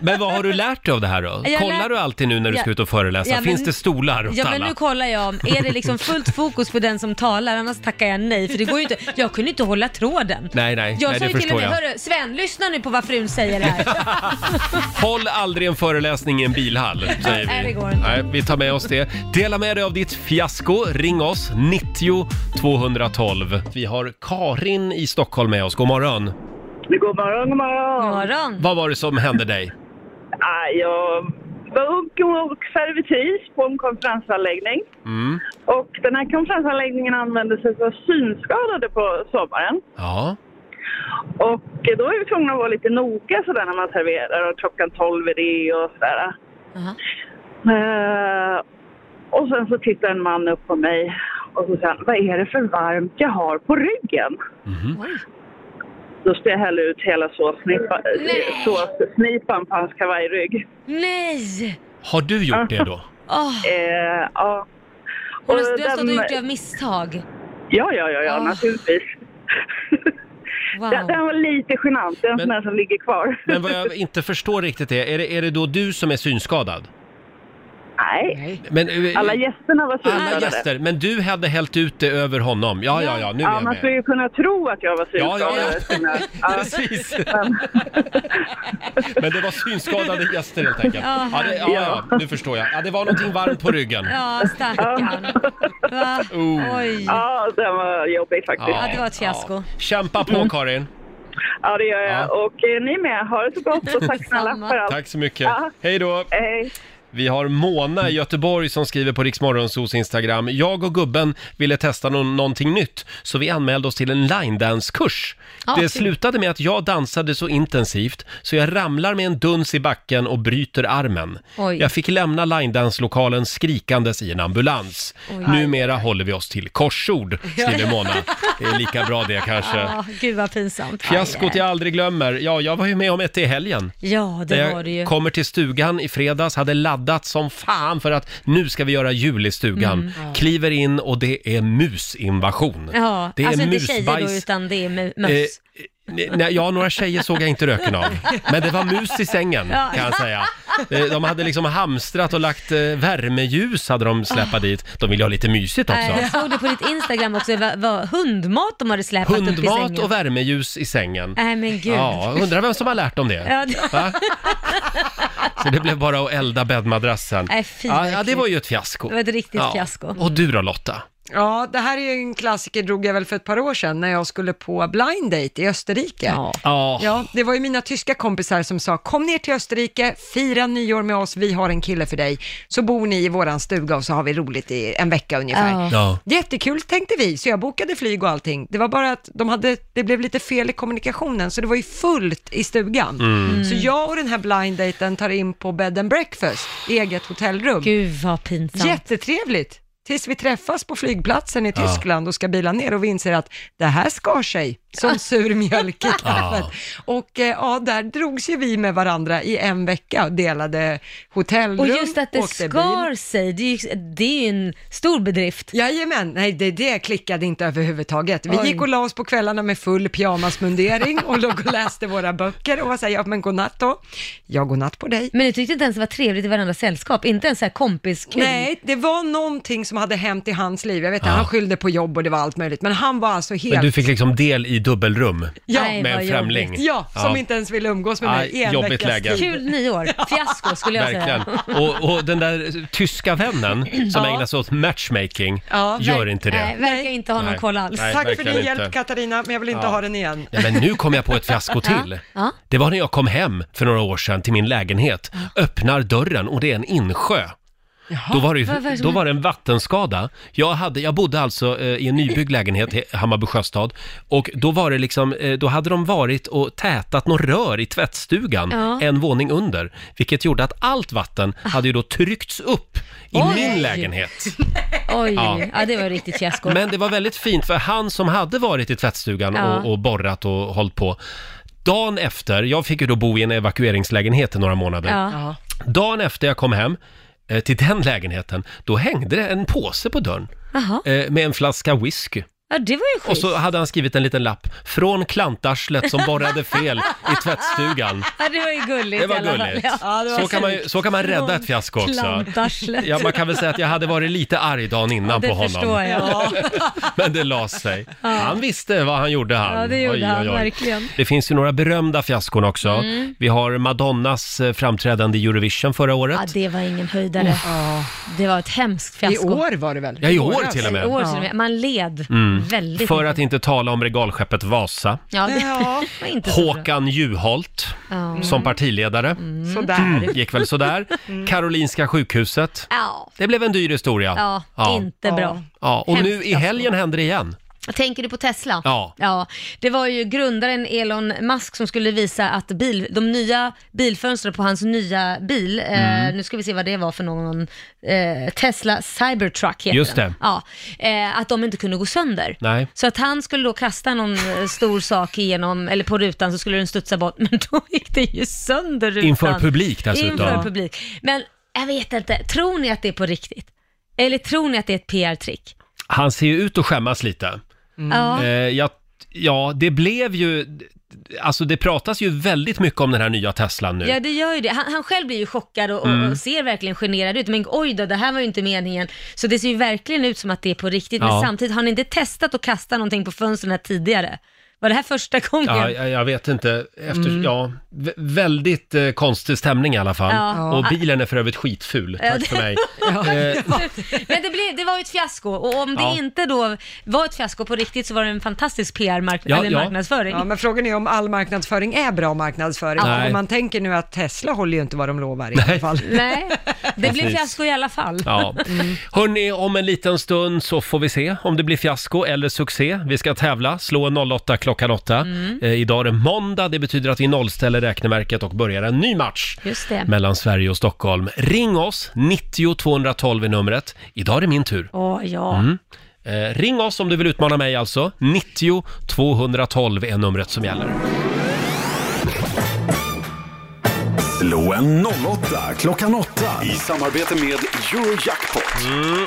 Speaker 1: Men vad har du lärt dig av det här då?
Speaker 2: Jag
Speaker 1: Kollar
Speaker 2: lär-
Speaker 1: du alltid nu när du
Speaker 2: Ja.
Speaker 1: ska ut och föreläsa?
Speaker 2: Ja, men-
Speaker 1: Finns det stolar åt
Speaker 2: Ja men
Speaker 1: alla?
Speaker 2: nu kollar jag om, är det liksom fullt fokus på den som talar, annars tackar jag nej, för det går ju inte, jag kunde inte hålla tråden.
Speaker 1: Nej, nej,
Speaker 2: jag
Speaker 1: nej
Speaker 2: sa
Speaker 1: det
Speaker 2: ju till och
Speaker 1: förstår
Speaker 2: med,
Speaker 1: jag.
Speaker 2: hörru Sven, lyssna nu på vad frun säger här.
Speaker 1: Håll aldrig en föreläsning i en bilhall, säger vi.
Speaker 2: Nej, det går inte.
Speaker 1: Nej, vi tar med oss det. Dela med dig av ditt fiasko. Ring oss, 90 212. Vi har Karin i Stockholm med oss. God morgon.
Speaker 16: God morgon, god morgon.
Speaker 1: Vad var det som hände dig?
Speaker 16: Ah, jag var ung och servitris på en konferensanläggning.
Speaker 1: Mm.
Speaker 16: Och den här konferensanläggningen använde sig för synskadade på sommaren.
Speaker 1: Ja.
Speaker 16: Och då är vi tvungna att vara lite noga sådär när man serverar och klockan 12 är det och sådär. Eh, och sen så tittar en man upp på mig och så säger han, vad är det för varmt jag har på ryggen?
Speaker 1: Mhm.
Speaker 16: Då ska jag hälla ut hela såssnipa,
Speaker 2: Nej.
Speaker 16: såssnipan på hans kavajrygg.
Speaker 2: Nej!
Speaker 1: Har du gjort det då?
Speaker 2: Oh.
Speaker 16: Eh, ja.
Speaker 2: Hon
Speaker 16: Och
Speaker 2: har, du har stått och
Speaker 16: den-
Speaker 2: gjort det av misstag.
Speaker 16: Ja, ja, ja, ja
Speaker 2: Ah.
Speaker 16: naturligtvis. Den, den var lite genant, den sån där som ligger kvar.
Speaker 1: Men vad jag inte förstår riktigt är, är det, är det då du som är synskadad?
Speaker 14: Nej.
Speaker 1: Men, eh,
Speaker 14: Alla gästerna var sura.
Speaker 1: alla gäster, men du hade hällt ut det över honom. Ja, ja, ja, nu är
Speaker 14: ja,
Speaker 1: jag
Speaker 14: man
Speaker 1: med.
Speaker 14: skulle ju kunna tro att jag var
Speaker 1: Ja, ja, ja.
Speaker 14: synskadad.
Speaker 1: (laughs) Precis.
Speaker 14: Men,
Speaker 1: Men det var synskadade gäster helt enkelt.
Speaker 2: Ja,
Speaker 1: Ja, det, ja, ja, nu förstår jag. Ja, det var någonting varmt på ryggen.
Speaker 2: Ja, stackarn. Va?
Speaker 1: Oh.
Speaker 2: Oj.
Speaker 14: ja, den var jobbig faktiskt.
Speaker 2: Ja, det var ett fiasko. Mm.
Speaker 1: Kämpa på Karin!
Speaker 14: Mm. Ja, det gör jag. Och eh, ni med. Ha det så gott och tack snälla för allt.
Speaker 1: Tack så mycket.
Speaker 14: Ja.
Speaker 1: Hej då!
Speaker 14: Hej.
Speaker 1: Vi har Mona i Göteborg som skriver på Riksmorgonsos Instagram. Jag och gubben ville testa nå- någonting nytt så vi anmälde oss till en linedance-kurs.
Speaker 2: Ja,
Speaker 1: det
Speaker 2: Ah, kul.
Speaker 1: slutade med att jag dansade så intensivt så jag ramlar med en duns i backen och bryter armen.
Speaker 2: Oj.
Speaker 1: Jag fick lämna linedance-lokalen skrikandes i en ambulans.
Speaker 2: Oj.
Speaker 1: Numera håller vi oss till korsord, skriver Mona. Det är lika bra det kanske.
Speaker 2: Ja, gud vad pinsamt.
Speaker 1: Fiaskot jag aldrig glömmer. Ja, jag var ju med om ett i helgen.
Speaker 2: Ja,
Speaker 1: När
Speaker 2: det
Speaker 1: jag
Speaker 2: var det ju.
Speaker 1: kommer till stugan i fredags, hade laddat som fan för att nu ska vi göra jul i stugan.
Speaker 2: Mm. Ja.
Speaker 1: Kliver in och det är musinvasion.
Speaker 2: Ja,
Speaker 1: det är
Speaker 2: alltså inte tjejer då,
Speaker 1: musbajs.
Speaker 2: utan det är mu-
Speaker 1: Eh,
Speaker 2: möss.
Speaker 1: ne- nej, ja, några tjejer såg jag inte röken av. Men det var mus i sängen,
Speaker 2: Ja.
Speaker 1: kan jag säga. Eh, De hade liksom hamstrat och lagt eh, värmeljus hade de släpat dit. De ville ha lite mysigt
Speaker 2: Nej,
Speaker 1: också.
Speaker 2: jag såg det på ditt Instagram också, vad, vad, hundmat de hade släpat upp i sängen.
Speaker 1: Hundmat och värmeljus i sängen.
Speaker 2: Nej men gud.
Speaker 1: Ja, undrar vem som har lärt dem det?
Speaker 2: Ja,
Speaker 1: (laughs)
Speaker 2: det-
Speaker 1: Va? Så det blev bara att elda bäddmadrassen.
Speaker 2: Nej, fy, vad
Speaker 1: ja, ja, det
Speaker 2: äckligt.
Speaker 1: var ju ett fiasko.
Speaker 2: Det var ett riktigt fiasko.
Speaker 1: Och du då Lotta?
Speaker 6: Ja, det här är ju en klassiker, drog jag väl för ett par år sedan, när jag skulle på blind date i Österrike. Ja.
Speaker 1: Ja.
Speaker 6: det var ju mina tyska kompisar som sa, kom ner till Österrike, fira nyår med oss, vi har en kille för dig, så bor ni i våran stuga och så har vi roligt i en vecka ungefär.
Speaker 1: Ja. Ja.
Speaker 6: Jättekul tänkte vi, så jag bokade flyg och allting. Det var bara att de hade, det blev lite fel i kommunikationen, så det var ju fullt i stugan.
Speaker 2: Mm.
Speaker 6: Så jag och den här blind daten tar in på bed and breakfast, eget hotellrum.
Speaker 2: Gud vad pinsamt.
Speaker 6: Jättetrevligt. Tills vi träffas på flygplatsen i
Speaker 2: Ja.
Speaker 6: Tyskland och ska bila ner och vi inser att det här skar sig
Speaker 2: Ah.
Speaker 6: som sur mjölk i kaffet.
Speaker 1: Ja.
Speaker 6: Och eh, ja, där drogs ju vi med varandra i en vecka och delade hotellrum,
Speaker 2: Och just att det
Speaker 6: åkte bil.
Speaker 2: skar sig, det är, ju, det är ju en stor bedrift.
Speaker 6: Jajamän, nej det, det klickade inte överhuvudtaget. Vi
Speaker 2: Oj.
Speaker 6: gick och la oss på kvällarna med full pyjamasmundering och låg och läste våra böcker och var såhär, ja men godnatt då. Ja, godnatt på dig.
Speaker 2: Men ni tyckte inte ens det var trevligt i varandras sällskap, inte ens så här kompiskul.
Speaker 6: Nej, det var någonting som hade hänt i hans liv. Jag vet inte, han skyllde på jobb och det var allt möjligt, men han var alltså helt...
Speaker 1: Men du fick liksom del i dubbelrum
Speaker 6: Ja.
Speaker 1: med en främling.
Speaker 6: Ja, som inte ens ville umgås med mig
Speaker 1: Aj,
Speaker 6: i en
Speaker 1: jobbigt
Speaker 6: veckas
Speaker 1: läge.
Speaker 6: tid.
Speaker 2: Kul
Speaker 6: (laughs)
Speaker 2: nyår, fiasko skulle jag
Speaker 1: Verkligen.
Speaker 2: säga. (laughs)
Speaker 1: Och, och den där tyska vännen som
Speaker 2: Ja.
Speaker 1: ägnar sig åt matchmaking, gör inte det.
Speaker 2: Nej, verkar inte ha någon
Speaker 1: Nej.
Speaker 2: koll alls.
Speaker 1: Nej,
Speaker 6: Tack för
Speaker 1: verkligen
Speaker 6: din hjälp
Speaker 1: inte.
Speaker 6: Katarina, men jag vill inte
Speaker 1: Ja.
Speaker 6: ha den igen.
Speaker 1: Ja, men nu kom jag på ett
Speaker 6: (laughs)
Speaker 1: fiasko till.
Speaker 2: Ja.
Speaker 1: Det var när jag kom hem för några år sedan till min lägenhet, öppnar dörren och det är en insjö. Då var, det,
Speaker 2: Vad- vad är det
Speaker 1: ju-
Speaker 2: som
Speaker 1: då
Speaker 2: händer?
Speaker 1: var det en vattenskada. Jag, hade, jag bodde alltså eh, i en nybyggd
Speaker 2: (laughs)
Speaker 1: lägenhet i Hammarby sjöstad och då, var det liksom, eh, då hade de varit och tätat något rör i tvättstugan
Speaker 2: Ja. Ah.
Speaker 1: en våning under, vilket gjorde att allt vatten hade ju då tryckts upp i
Speaker 2: Oj.
Speaker 1: min lägenhet.
Speaker 2: Oj,
Speaker 1: Ja.
Speaker 2: ja. det var riktigt fiasko.
Speaker 1: Men det var väldigt fint för han som hade varit i tvättstugan
Speaker 2: Ja.
Speaker 1: och, och borrat och hållit på. Dagen efter, jag fick ju då bo i en evakueringslägenhet i några månader.
Speaker 2: Ja.
Speaker 1: Dagen efter jag kom hem eh, till den lägenheten, då hängde det en påse på dörren
Speaker 2: Jaha,
Speaker 1: eh, med en flaska whisky.
Speaker 2: ja det var ju
Speaker 1: Och
Speaker 2: schysst.
Speaker 1: så hade han skrivit en liten lapp, från klantarslet som borrade fel i tvättstugan.
Speaker 2: Ja, det var ju gulligt
Speaker 1: Det
Speaker 2: i
Speaker 1: var
Speaker 2: alla fall.
Speaker 1: gulligt.
Speaker 2: Ja, det var
Speaker 1: så, kan man, ju-
Speaker 2: snyggt.
Speaker 1: så kan man rädda ett
Speaker 2: Från
Speaker 1: fiasko också.
Speaker 2: Klantarslet.
Speaker 1: Ja, man kan väl säga att jag hade varit lite arg dagen innan
Speaker 2: det
Speaker 1: på honom. (laughs)
Speaker 2: förstår jag.
Speaker 1: Men det la sig.
Speaker 2: Ja.
Speaker 1: Han visste vad han gjorde han.
Speaker 2: Ja, det gjorde han verkligen.
Speaker 1: Det finns ju några berömda fiaskon också.
Speaker 2: Mm.
Speaker 1: Vi har Madonnas eh, framträdande i Eurovision förra året.
Speaker 2: Ja, det var ingen höjdare. Det var ett hemskt fiasko.
Speaker 6: I år var det väl?
Speaker 1: Ja, i år till och med.
Speaker 2: I år till och med. Man led
Speaker 1: Mm.
Speaker 2: väldigt
Speaker 1: För
Speaker 2: mycket.
Speaker 1: att inte tala om regalskeppet Vasa.
Speaker 2: Ja, det var inte så bra. Mm.
Speaker 1: Håkan Juholt
Speaker 2: Ja.
Speaker 1: som partiledare.
Speaker 6: Sådär.
Speaker 1: Mm, Gick väl
Speaker 2: (laughs)
Speaker 1: sådär. Karolinska sjukhuset.
Speaker 2: Mm. Ja.
Speaker 1: Det blev en dyr historia.
Speaker 2: Ja, inte bra.
Speaker 1: Ja, och nu
Speaker 2: Hemskt
Speaker 1: i helgen händer det igen.
Speaker 2: Tänker du på Tesla?
Speaker 1: Ja.
Speaker 2: ja. Det var ju grundaren Elon Musk som skulle visa att bil, de nya bilfönstren på hans nya bil, eh,
Speaker 1: Mm.
Speaker 2: nu ska vi se vad det var för någon, eh, Tesla Cybertruck heter
Speaker 1: Just
Speaker 2: den.
Speaker 1: det.
Speaker 2: Ja, eh, att de inte kunde gå sönder.
Speaker 1: Nej.
Speaker 2: Så att han skulle då kasta någon eh, stor sak igenom, eller på rutan så skulle den studsa bort, men då gick det ju sönder rutan.
Speaker 1: Inför publik dessutom.
Speaker 2: Inför
Speaker 1: Ja.
Speaker 2: publik. Men jag vet inte, tror ni att det är på riktigt? Eller tror ni att det är ett PR-trick?
Speaker 1: Han ser ju ut att skämmas lite.
Speaker 2: Ja.
Speaker 1: Mm. Eh, jag Ja, det blev ju... Alltså det pratas ju väldigt mycket om den här nya Teslan nu.
Speaker 2: Ja, det gör ju det. Han, han själv blir ju chockad och, och-
Speaker 1: Mm.
Speaker 2: och ser verkligen generad ut. Men oj då, det här var ju inte meningen. Så det ser ju verkligen ut som att det är på riktigt.
Speaker 1: Ja.
Speaker 2: Men samtidigt, har ni inte testat att kasta någonting på fönstren här tidigare? Var det här första gången?
Speaker 1: Ja, jag, jag vet inte. Efter,
Speaker 2: Mm.
Speaker 1: ja, vä- väldigt eh, konstig stämning i alla fall.
Speaker 2: Ja.
Speaker 1: Och bilen är för övrigt skitful.
Speaker 2: (laughs) Ja,
Speaker 1: Tack
Speaker 2: det-
Speaker 1: för mig. Eh,
Speaker 2: Men det, blev, det var ju ett fiasko och om det
Speaker 1: Ja.
Speaker 2: inte då var ett fiasko på riktigt så var det en fantastisk PR-marknadsföring. eller marknadsföring.
Speaker 6: Ja, men frågan är om all marknadsföring är bra marknadsföring.
Speaker 2: Nej.
Speaker 6: Om man tänker nu att Tesla håller ju inte vad de lovar i alla fall.
Speaker 2: (laughs) Nej, det blev
Speaker 1: Precis.
Speaker 2: fiasko i alla fall. Mm,
Speaker 1: Ja. Hörni, om en liten stund så får vi se om det blir fiasko eller succé. Vi ska tävla, slå en 08 klockan 8.
Speaker 2: Mm.
Speaker 1: Eh, idag är det måndag, det betyder att vi nollställer räkneverket och börjar en ny match
Speaker 2: Just det.
Speaker 1: mellan Sverige och Stockholm. Ring oss, 90 212 är numret. Idag är det min tur.
Speaker 2: Åh, ja.
Speaker 1: Mm. Eh, ring oss om du vill utmana mig alltså. 90 212 är numret som gäller.
Speaker 3: Slå en 08 klockan 8. I samarbete med Eurojackpot.
Speaker 1: Mm.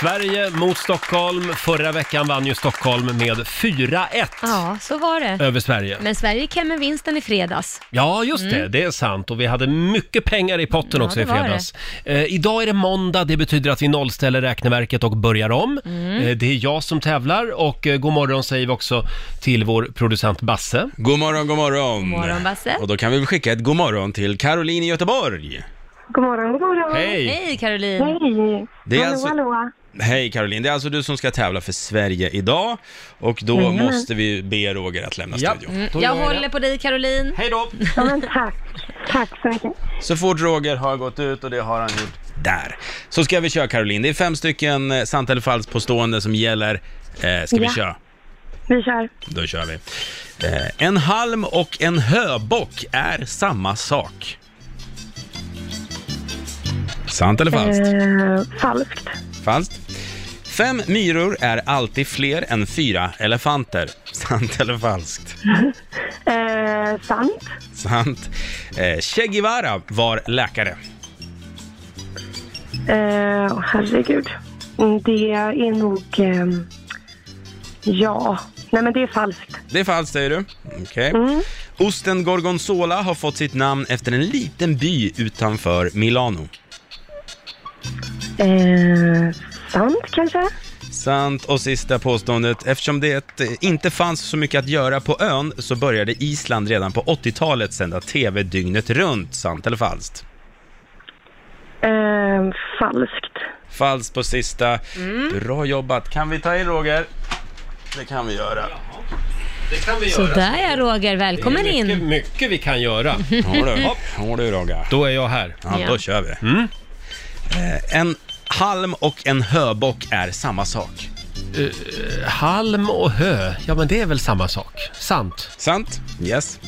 Speaker 1: Sverige mot Stockholm. Förra veckan vann ju Stockholm med 4-1
Speaker 2: Ja, så var det.
Speaker 1: över Sverige.
Speaker 2: Men Sverige gick hem med vinsten i fredags.
Speaker 1: Ja, just det.
Speaker 2: Mm.
Speaker 1: Det är sant. Och vi hade mycket pengar i potten
Speaker 2: Ja,
Speaker 1: också
Speaker 2: det
Speaker 1: i
Speaker 2: var
Speaker 1: fredags. Eh, idag är det måndag. Det betyder att vi nollställer räkneverket och börjar om.
Speaker 7: Mm.
Speaker 1: Eh, det är jag som tävlar och eh, god morgon säger vi också till vår producent Basse.
Speaker 7: God morgon, god morgon.
Speaker 2: God morgon, Basse.
Speaker 7: Och då kan vi väl skicka ett god morgon till Caroline i Göteborg.
Speaker 2: God morgon, god morgon.
Speaker 7: Hej.
Speaker 2: Hej Caroline.
Speaker 9: Hej.
Speaker 7: Det är Hallå, alltså-
Speaker 9: hallå.
Speaker 7: Hej Caroline, det är alltså du som ska tävla för Sverige idag och då
Speaker 2: Jajamän.
Speaker 7: måste vi be Roger att lämna studion.
Speaker 2: Mm, jag håller på dig Caroline.
Speaker 1: Hej då.
Speaker 9: Ja, men tack. Tack så mycket.
Speaker 7: Så fort Roger har gått ut och det har han gjort där, så ska vi köra Caroline. Det är fem stycken eh, sant eller falskt påstående som gäller. Eh, ska vi
Speaker 9: Ja.
Speaker 7: köra?
Speaker 9: Vi kör.
Speaker 7: Då kör vi. Eh, en halm och en höbock är samma sak. Sant eller falskt?
Speaker 9: Eh, falskt. (laughs)
Speaker 7: Falskt. Fem myror är alltid fler än fyra elefanter. (laughs) Sant eller falskt?
Speaker 9: Eh, sant.
Speaker 7: Sant. Eh, che Guevara var läkare.
Speaker 9: Eh, åh, herregud. Mm, Det är nog... ehm, ja. Nej, men det är falskt.
Speaker 7: Det är falskt säger du. Okej. Osten gorgonzola har fått sitt namn efter en liten by utanför Milano.
Speaker 9: Eh, sant, kanske?
Speaker 7: Sant. Och sista påståendet. Eftersom det eh, inte fanns så mycket att göra på ön så började Island redan på 80-talet sända TV dygnet runt. Sant eller falskt?
Speaker 9: Eh, falskt.
Speaker 7: Falskt på sista.
Speaker 9: Mm.
Speaker 7: Bra jobbat. Kan vi ta in Roger? Det kan vi göra.
Speaker 1: Det kan vi
Speaker 2: Sådär ja Roger, välkommen
Speaker 1: Det är mycket,
Speaker 2: in.
Speaker 1: mycket vi kan
Speaker 7: (laughs)
Speaker 1: göra.
Speaker 7: Ja du, ja, du Roger.
Speaker 1: Då är jag här. Mm.
Speaker 7: Ja,
Speaker 2: Ja.
Speaker 7: då kör vi. Eh, en halm och en höbock är samma sak.
Speaker 1: Eh, halm och hö, ja men det är väl samma sak? Sant?
Speaker 7: Sant, yes.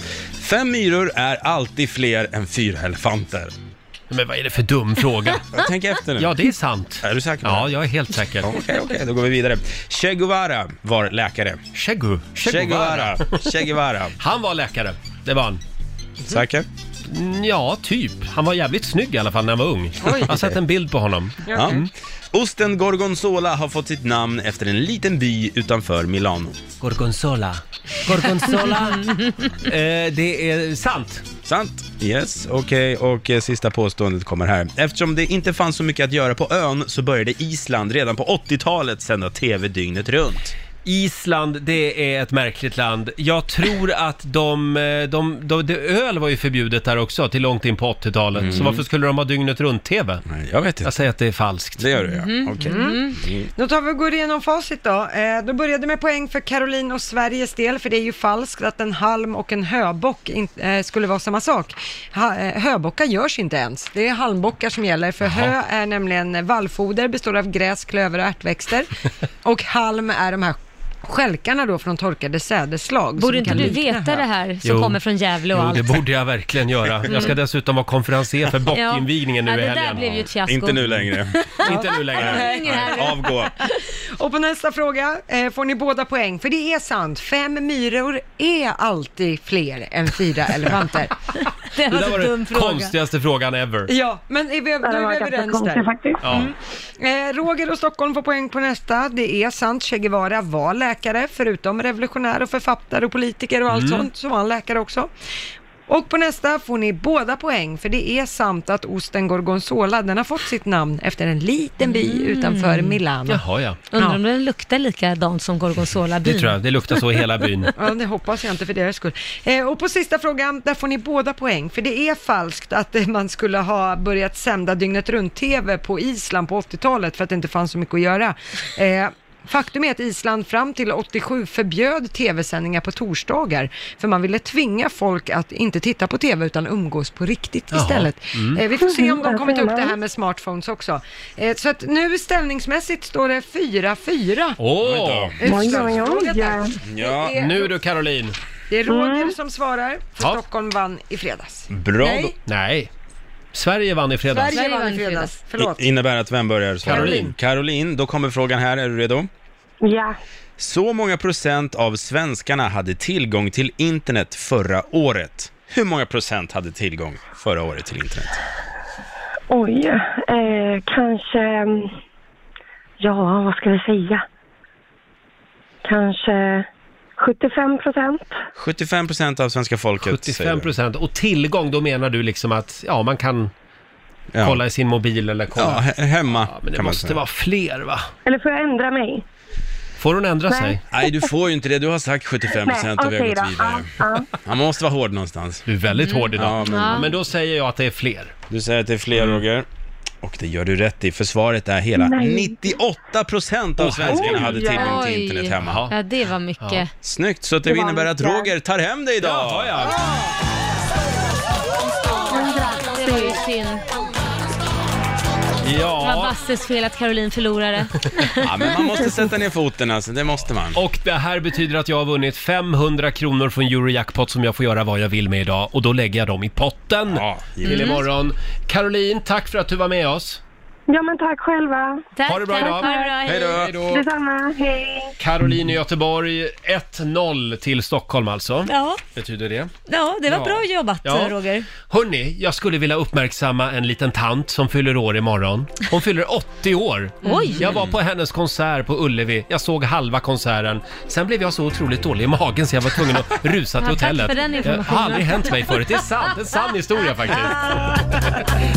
Speaker 7: Fem myror är alltid fler än fyra elefanter.
Speaker 1: Men vad är det för
Speaker 7: (laughs)
Speaker 1: dum fråga?
Speaker 7: Tänk efter nu.
Speaker 1: Ja, det är sant.
Speaker 7: Är du säker på
Speaker 1: Ja, jag är helt säker.
Speaker 7: Okej, okej, då går vi vidare. Che Guevara var läkare.
Speaker 1: Che, Gu-
Speaker 7: Che Guevara. Che Guevara.
Speaker 1: Han var läkare, det var han.
Speaker 7: Säker?
Speaker 1: Mm, Ja, typ. Han var jävligt snygg i alla fall när han var ung. Jag har sett en bild på honom. Mm.
Speaker 7: Ja. Osten gorgonzola har fått sitt namn efter en liten by utanför Milano.
Speaker 1: Gorgonzola. Gorgonzola. (laughs) eh, det är sant.
Speaker 7: Sant. Yes, okej. Och eh, sista påståendet kommer här. Eftersom det inte fanns så mycket att göra på ön så började Island redan på 80-talet sända TV dygnet runt.
Speaker 1: Island, det är ett märkligt land. Jag tror att de, eh, de, de, de öl var ju förbjudet där också till långt in på 80-talet. Så varför skulle de ha dygnet runt-TV?
Speaker 7: Mm. Jag vet inte.
Speaker 1: Jag säger att det är falskt.
Speaker 7: Det gör du ja,
Speaker 6: Mhm.
Speaker 7: okej.
Speaker 6: Mm. Då tar vi och går igenom facit då. Eh, då började med poäng för Caroline och Sveriges del, för det är ju falskt att en halm och en höbock in, eh, skulle vara samma sak. Ha, eh, höbockar görs inte ens. Det är halmbockar som gäller, för hö är nämligen vallfoder, består av gräs, klöver
Speaker 1: (laughs)
Speaker 6: och ärtväxter. och halm är de här stjälkarna då från torkade sädesslag.
Speaker 2: Borde
Speaker 6: som
Speaker 2: inte
Speaker 6: kan
Speaker 2: du
Speaker 6: likna
Speaker 2: veta
Speaker 6: hö.
Speaker 2: det här som
Speaker 1: Jo.
Speaker 2: kommer från Gävle och
Speaker 1: Jo,
Speaker 2: allt?
Speaker 1: det borde jag verkligen göra. Jag ska
Speaker 2: Mm.
Speaker 1: dessutom vara konferensier för bockinvigningen nu
Speaker 2: (laughs) Ja,
Speaker 1: i
Speaker 2: det där
Speaker 1: helgen.
Speaker 2: blev ju ett fiasko.
Speaker 1: Inte nu
Speaker 2: (laughs)
Speaker 7: längre.
Speaker 1: (laughs) Inte nu
Speaker 6: Nej,
Speaker 1: längre.
Speaker 6: ingen här.
Speaker 7: Avgå.
Speaker 6: Och på nästa fråga eh, får ni båda poäng, för det är sant. Fem myror är alltid fler än fyra (laughs) elefanter.
Speaker 1: Det där var den konstigaste frågan ever.
Speaker 6: Ja, men är vi, då
Speaker 9: det
Speaker 6: är
Speaker 9: var
Speaker 6: vi
Speaker 9: ganska
Speaker 6: överens
Speaker 9: konstigt
Speaker 6: där.
Speaker 9: faktiskt.
Speaker 1: Ja.
Speaker 6: Eh, Roger och Stockholm får poäng på nästa. Det är sant, Che Guevara var läkare, förutom revolutionär och författare och politiker och allt
Speaker 15: Mm.
Speaker 6: sånt, så var han läkare också. Och på nästa får ni båda poäng, för det är sant att osten gorgonzola, den har fått sitt namn efter en liten by utanför Milano.
Speaker 1: Mm. Jaha, ja.
Speaker 2: Undrar om den luktar likadant som gorgonzola
Speaker 1: Det tror jag. Det luktar så i hela byn.
Speaker 6: (laughs) ja, det hoppas jag inte för deras skull. Eh, och på sista frågan, där får ni båda poäng, för det är falskt att eh, man skulle ha börjat sända dygnet runt-TV på Island på 80-talet för att det inte fanns så mycket att göra. Eh, Faktum är att Island fram till 87 förbjöd tv-sändningar på torsdagar, för man ville tvinga folk att inte titta på tv utan umgås på riktigt
Speaker 15: Jaha.
Speaker 6: istället.
Speaker 15: Mm.
Speaker 6: Eh, vi får se om de
Speaker 15: Mhm,
Speaker 6: kommit upp det här
Speaker 15: spännande.
Speaker 6: med smartphones också. Eh, så att nu ställningsmässigt står det 4-4.
Speaker 1: Åh!
Speaker 6: Utslagsfråga där.
Speaker 1: Ja.
Speaker 6: Det är-
Speaker 1: Nu du Caroline.
Speaker 6: Det är Roger som svarar, för
Speaker 1: Ja.
Speaker 6: Stockholm vann i fredags.
Speaker 7: Bra då.
Speaker 6: Nej,
Speaker 1: Nej. Sverige vann i fredags.
Speaker 6: Sverige vann i fredags. Förlåt.
Speaker 7: I- Innebär att vem börjar? svara?
Speaker 6: Caroline.
Speaker 7: Caroline, då kommer frågan här. Är du redo?
Speaker 9: Ja.
Speaker 7: Så många procent av svenskarna hade tillgång till internet förra året. Hur många procent hade tillgång förra året till internet?
Speaker 9: Oj, eh, kanske... mm, Ja, vad ska vi säga? Kanske 75 procent.
Speaker 7: 75 procent av svenska folket
Speaker 1: 75 procent. Och tillgång, då menar du liksom att ja, man kan kolla i sin mobil eller kolla...
Speaker 7: Ja, he- hemma.
Speaker 1: men det
Speaker 7: kan man
Speaker 1: måste
Speaker 7: säga.
Speaker 1: vara fler va?
Speaker 9: Eller får jag ändra mig?
Speaker 1: Får hon ändra
Speaker 9: Nej.
Speaker 1: sig?
Speaker 7: Nej, du får ju inte det. Du har sagt 75 procent och vi har
Speaker 9: okej
Speaker 7: gått
Speaker 9: då.
Speaker 7: vidare.
Speaker 9: Ja,
Speaker 7: Man måste vara hård någonstans.
Speaker 1: Du är väldigt
Speaker 7: Mm.
Speaker 1: hård idag.
Speaker 7: Ja, men- Ja.
Speaker 1: men då säger jag att det är fler. Mm.
Speaker 7: Du säger att det är fler, Roger. Och det gör du rätt i, för svaret är hela
Speaker 2: Nej.
Speaker 7: 98 procent av
Speaker 2: Åh,
Speaker 7: svenskarna hade
Speaker 2: herregud.
Speaker 7: tillgång till
Speaker 2: Oj.
Speaker 7: internet hemma.
Speaker 2: Ja, det var mycket.
Speaker 7: Ja. Snyggt, så att det,
Speaker 2: Det var
Speaker 7: innebär att
Speaker 2: mycket.
Speaker 7: Roger tar hem det idag. Ja, ja.
Speaker 2: Det var ju synd. Det var Basses fel att
Speaker 1: (laughs)
Speaker 2: Caroline förlorade.
Speaker 7: men man måste sätta ner foten alltså, det måste man.
Speaker 1: Och det här betyder att jag har vunnit 500 kronor från Eurojackpot som jag får göra vad jag vill med idag och då lägger jag dem i potten till
Speaker 9: Mm.
Speaker 1: imorgon. Caroline, tack för att du var med oss.
Speaker 9: ja men tack själva.
Speaker 1: Tack, Ha det bra tack. idag. Ha det bra, hej. Hej då.
Speaker 9: Detsamma, hej.
Speaker 1: Caroline i Göteborg, 1-0 till Stockholm alltså.
Speaker 2: Ja.
Speaker 1: Betyder det.
Speaker 2: Ja, det var
Speaker 1: Ja.
Speaker 2: bra jobbat
Speaker 1: Ja.
Speaker 2: Roger.
Speaker 1: Hörni, jag skulle vilja uppmärksamma en liten tant som fyller år imorgon. Hon fyller 80 år.
Speaker 2: Mm. Oj.
Speaker 1: Jag var på hennes konsert på Ullevi. Jag såg halva konserten. Sen blev jag så otroligt dålig i magen så jag var tvungen att rusa till
Speaker 2: (laughs) Ja, tack för
Speaker 1: hotellet.
Speaker 2: den
Speaker 1: det har
Speaker 2: informationen.
Speaker 1: aldrig hänt mig
Speaker 2: (laughs)
Speaker 1: förut. Det är sant. Det är en sann historia faktiskt.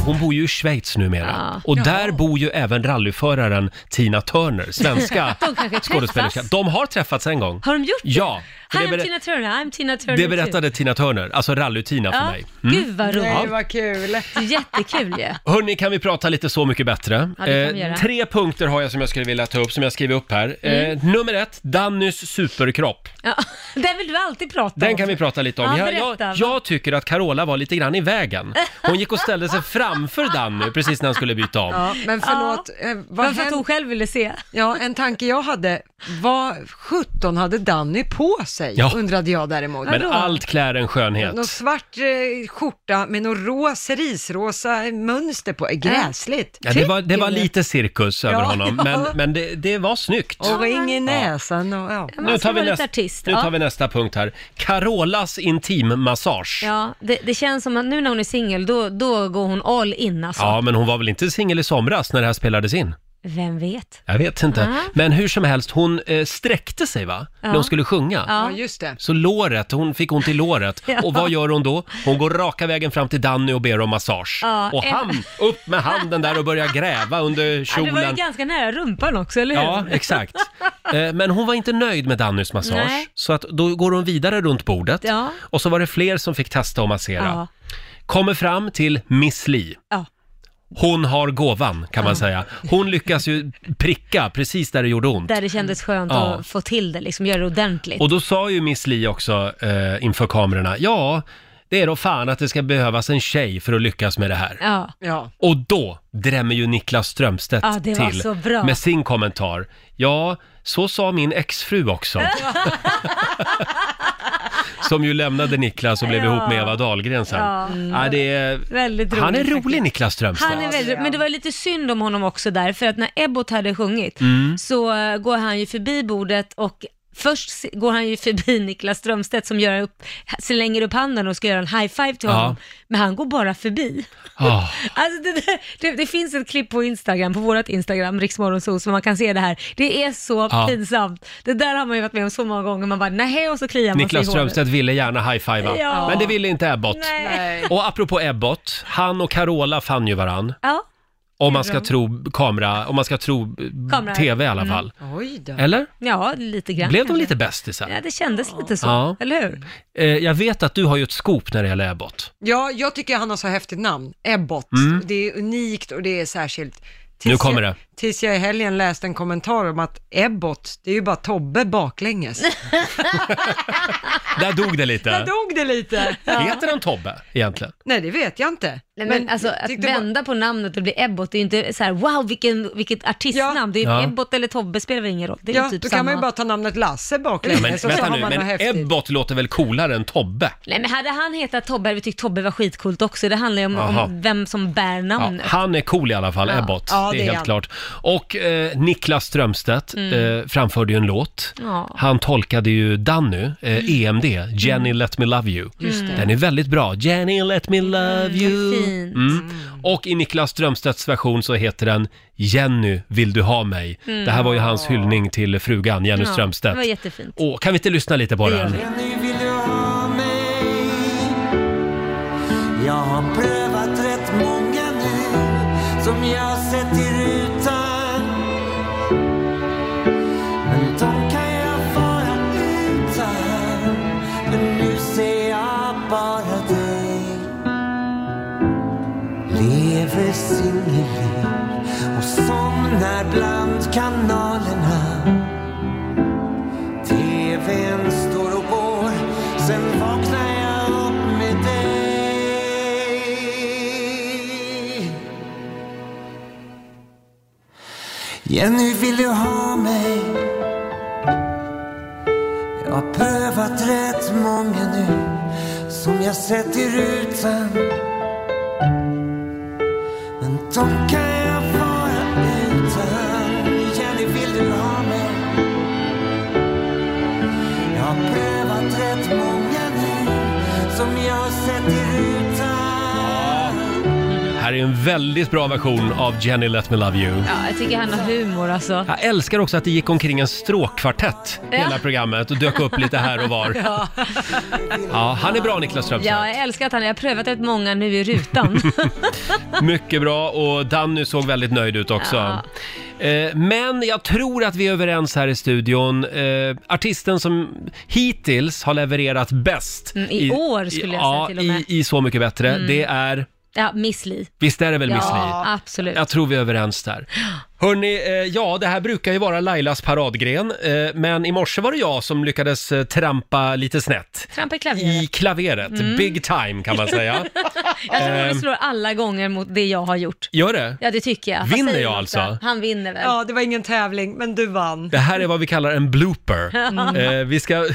Speaker 1: Hon bor ju i Schweiz numera. Och där bor ju även rallyföraren Tina Turner, svenska
Speaker 2: (laughs) De kanske
Speaker 1: skådespelerska.
Speaker 2: träffas.
Speaker 1: De har träffats en gång.
Speaker 2: Har de gjort det?
Speaker 1: Ja.
Speaker 2: Hi,
Speaker 1: Det
Speaker 2: I'm
Speaker 1: ber-
Speaker 2: Tina Turner, I'm Tina Turner
Speaker 1: det
Speaker 2: too.
Speaker 1: berättade Tina Turner, alltså rally-Tina för
Speaker 2: Ja,
Speaker 1: mig. Mm.
Speaker 2: Gud vad roligt.
Speaker 1: Ja.
Speaker 6: vad kul.
Speaker 2: Jättekul ju.
Speaker 1: Hörni, kan vi prata lite Så mycket bättre? Eh,
Speaker 2: Ja, det kan vi göra.
Speaker 1: tre punkter har jag som jag skulle vilja ta upp, som jag skriver upp här.
Speaker 2: Mm.
Speaker 1: Eh, nummer ett, Dannys superkropp.
Speaker 2: Ja. (laughs) Den vill du alltid prata om.
Speaker 1: Den kan vi prata lite om.
Speaker 2: Ja,
Speaker 1: Jag,
Speaker 2: berätta.
Speaker 1: jag, jag tycker att Carola var lite grann i vägen. Hon gick och ställde sig framför Danny precis när han skulle byta om.
Speaker 6: Ja, men förlåt. eh, Vad
Speaker 2: Men för att hon
Speaker 6: själv ville se. Ja, en tanke jag hade. Vad 17 hade Danny på sig?
Speaker 1: Ja.
Speaker 6: Undrade jag däremot.
Speaker 1: Men allt klär en skönhet.
Speaker 6: Någon svart eh, skjorta med någon rosa, risrosa mönster på. Gräsligt.
Speaker 1: Ja, det, var, det var
Speaker 6: Tycker-
Speaker 1: lite cirkus över
Speaker 6: Ja,
Speaker 1: honom,
Speaker 6: ja.
Speaker 1: men, men det, det var snyggt.
Speaker 6: Och ring i
Speaker 1: Ja.
Speaker 6: näsan och ja.
Speaker 1: Nu tar, vi nästa, nu tar vi nästa punkt här. Carolas intimmassage.
Speaker 2: Ja, det, det känns som att nu när hon är singel, då, då går hon all in alltså.
Speaker 1: Ja, men hon var väl inte singel i somras när det här spelades in?
Speaker 2: Vem vet?
Speaker 1: Jag vet inte.
Speaker 2: Ja.
Speaker 1: Men hur som helst, hon eh, sträckte sig va?
Speaker 2: Ja.
Speaker 1: När hon skulle sjunga.
Speaker 2: Ja, just det.
Speaker 1: Så låret, hon fick ont i låret.
Speaker 2: (laughs) Ja.
Speaker 1: Och vad gör hon då? Hon går raka vägen fram till Danny och ber om massage.
Speaker 2: Ja,
Speaker 1: och
Speaker 2: en-
Speaker 1: han, upp med handen där och börjar gräva under
Speaker 2: (laughs) Ja, det var ju
Speaker 1: kjolen.
Speaker 2: ganska nära rumpan också, eller hur?
Speaker 1: Ja,
Speaker 2: (laughs)
Speaker 1: exakt. Eh, Men hon var inte nöjd med Dannys massage,
Speaker 2: Nej.
Speaker 1: så att då går hon vidare runt bordet.
Speaker 2: Ja.
Speaker 1: Och så var det fler som fick testa och massera.
Speaker 2: Ja.
Speaker 1: Kommer fram till Miss Li.
Speaker 2: Ja.
Speaker 1: Hon har gåvan, kan man säga. Hon lyckas ju pricka precis där det gjorde ont.
Speaker 2: Där det kändes skönt
Speaker 1: Ja.
Speaker 2: att få till det, liksom göra det ordentligt.
Speaker 1: Och då sa ju Miss Li också eh, inför kamerorna, ja, det är då fan att det ska behövas en tjej för att lyckas med det här.
Speaker 2: Ja.
Speaker 6: ja.
Speaker 1: Och då drämmer ju Niklas Strömstedt
Speaker 2: Ja, det var
Speaker 1: till
Speaker 2: så bra.
Speaker 1: med sin kommentar. Ja, så sa min exfru
Speaker 2: (laughs)
Speaker 1: också. Som ju lämnade Niklas och blev
Speaker 2: Ja.
Speaker 1: ihop med Eva Dahlgren sen. Mm.
Speaker 2: Ja.
Speaker 1: Ja. det är...
Speaker 2: Väldigt roligt
Speaker 1: Han är rolig
Speaker 2: faktiskt.
Speaker 1: Niklas Strömstedt.
Speaker 2: Han är väldigt, men det var ju lite synd om honom också där, för att när Ebbot hade sjungit
Speaker 1: Mm.
Speaker 2: så eh, går han ju förbi bordet och Först se- går han ju förbi (laughs) Niklas Strömstedt som gör upp, slänger upp handen och ska göra en high-five till
Speaker 1: Ja.
Speaker 2: honom, men han går bara förbi.
Speaker 1: Ah.
Speaker 2: Alltså det, där, det, det finns ett klipp på Instagram, på vårt Instagram, Riksmorgonzoo, som man kan se det här. Det är så
Speaker 1: Ja.
Speaker 2: pinsamt. Det där har man ju varit med om så många gånger. Man bara, nej och så kliar man sig i
Speaker 1: Niklas
Speaker 2: håret.
Speaker 1: Strömstedt ville gärna high-fivea,
Speaker 2: Ja.
Speaker 1: men det ville inte Ebbot.
Speaker 2: Nej.
Speaker 1: Och apropå Ebbot, han och Carola fann ju varann.
Speaker 2: Ja,
Speaker 1: Om man ska
Speaker 2: Gjorde
Speaker 1: tro kamera, om man ska tro eh,
Speaker 2: Kamera.
Speaker 1: tv i alla
Speaker 2: Mm.
Speaker 1: fall.
Speaker 2: Oj då.
Speaker 1: Eller?
Speaker 2: Ja, lite grann.
Speaker 1: Blev de
Speaker 2: kanske.
Speaker 1: lite bästisar?
Speaker 2: Ja, det kändes lite så.
Speaker 1: Ja.
Speaker 2: Eller hur?
Speaker 1: Eh, Jag vet att du har ju ett scoop när det gäller Ebbot.
Speaker 6: Ja, jag tycker han har så häftigt namn, Ebbot.
Speaker 1: Mm.
Speaker 6: Det är unikt och det är särskilt.
Speaker 1: Nu kommer det.
Speaker 6: Jag, tills jag i helgen läste en kommentar om att Ebbot, det är ju bara Tobbe
Speaker 2: (laughs)
Speaker 6: baklänges.
Speaker 1: Där dog det lite.
Speaker 6: Där dog det lite.
Speaker 1: Heter han Tobbe egentligen?
Speaker 6: Nej, det vet jag inte.
Speaker 2: Nej, men, alltså att
Speaker 6: tyckte bara-
Speaker 2: vända på namnet och bli Ebbot, det är ju inte så här wow vilken, vilket artistnamn. Det är
Speaker 1: Ja.
Speaker 2: Ebbot eller Tobbe spelar väl ingen roll. Det är
Speaker 6: Ja,
Speaker 2: ju typ
Speaker 6: då
Speaker 2: samma.
Speaker 6: kan man ju bara ta namnet Lasse baklänges
Speaker 1: Men
Speaker 6: och så
Speaker 1: vänta
Speaker 6: har
Speaker 1: nu,
Speaker 6: man något
Speaker 1: men
Speaker 6: häftigt.
Speaker 1: Ebbot låter väl coolare än Tobbe?
Speaker 2: Nej men hade han hetat Tobbe hade vi tyckt Tobbe var skitcoolt också. Det handlar ju om,
Speaker 1: Jaha.
Speaker 2: om vem som bär
Speaker 1: Ja,
Speaker 2: namnet.
Speaker 1: han är cool i alla fall,
Speaker 2: Ja.
Speaker 1: Ebbot.
Speaker 2: Ja,
Speaker 1: det
Speaker 2: det
Speaker 1: är
Speaker 2: är
Speaker 1: helt
Speaker 2: han.
Speaker 1: klart. Och eh, Niklas Strömstedt
Speaker 2: Mm.
Speaker 1: eh, framförde ju en låt.
Speaker 2: Ja.
Speaker 1: Han tolkade ju Danny, eh, EMD, Jenny Let Me Love You.
Speaker 2: Mm. Just det. Mm,
Speaker 1: Den är väldigt bra. Jenny Let Me Love You.
Speaker 2: Fint.
Speaker 1: Mm. Och i Niklas Strömstedts version så heter den Jenny vill du ha mig.
Speaker 2: Mm.
Speaker 1: Det här var ju hans hyllning till frugan Jenny
Speaker 2: Ja,
Speaker 1: Strömstedt.
Speaker 2: Det var jättefint.
Speaker 1: Åh, kan vi inte lyssna lite på
Speaker 2: Det gör
Speaker 1: den?
Speaker 2: vi.
Speaker 4: Jag har prövat rätt många nu som jag sett i rutan Men de kan jag vara utan Men nu ser jag bara dig Lever singelliv och somnar bland kanalerna TVn står och går Sen vaknar jag upp med dig Jenny, vill du ha mig? Jag har prövat rätt många nu som jag sett i rutan Men de kan jag vara utan Jenny, vill du ha mig? Jag har prövat rätt många nu som jag sett i rutan
Speaker 1: Här är en väldigt bra version av Jenny Let Me Love You.
Speaker 2: Ja, jag tycker han har humor alltså.
Speaker 1: Jag älskar också att det gick omkring en stråkkvartett
Speaker 2: Ja.
Speaker 1: hela programmet och dök upp lite här och var.
Speaker 2: (laughs) Ja.
Speaker 1: Ja, han är bra Niklas Strömstedt.
Speaker 2: Ja, jag älskar att han, jag har prövat rätt många nu
Speaker 1: (laughs)
Speaker 2: i rutan.
Speaker 1: Mycket bra och Danny såg väldigt nöjd ut också. Eh, Men jag tror att vi är överens här i studion. Eh, Artisten som hittills har levererat bäst
Speaker 2: Mm, i år skulle jag säga
Speaker 1: ja,
Speaker 2: till och med.
Speaker 1: I, i Så mycket bättre,
Speaker 2: Mm.
Speaker 1: det är,
Speaker 2: Ja, Miss Li.
Speaker 1: visst är det väl
Speaker 2: ja,
Speaker 1: Miss Li?
Speaker 2: absolut.
Speaker 1: Jag tror vi är överens
Speaker 2: (gasps)
Speaker 1: där. Hörni, eh, ja det här brukar ju vara Lailas paradgren, eh, men i morse var det jag som lyckades eh, trampa lite snett.
Speaker 2: Trampa i
Speaker 1: I
Speaker 2: klaveret.
Speaker 1: klaveret,
Speaker 2: Mm.
Speaker 1: big time (laughs) kan man säga.
Speaker 2: (laughs) jag tror
Speaker 1: Ehm.
Speaker 2: du slår alla gånger mot det jag har gjort.
Speaker 1: Gör det?
Speaker 2: Ja, det tycker jag. Vad
Speaker 1: Vinner
Speaker 2: säger
Speaker 1: jag
Speaker 2: du,
Speaker 1: alltså?
Speaker 2: Lotta? Han vinner väl?
Speaker 6: Ja, det var ingen tävling, men du vann.
Speaker 1: Det här är vad vi kallar en
Speaker 2: (laughs)
Speaker 1: blooper.
Speaker 6: Mm.
Speaker 1: Eh, vi, ska,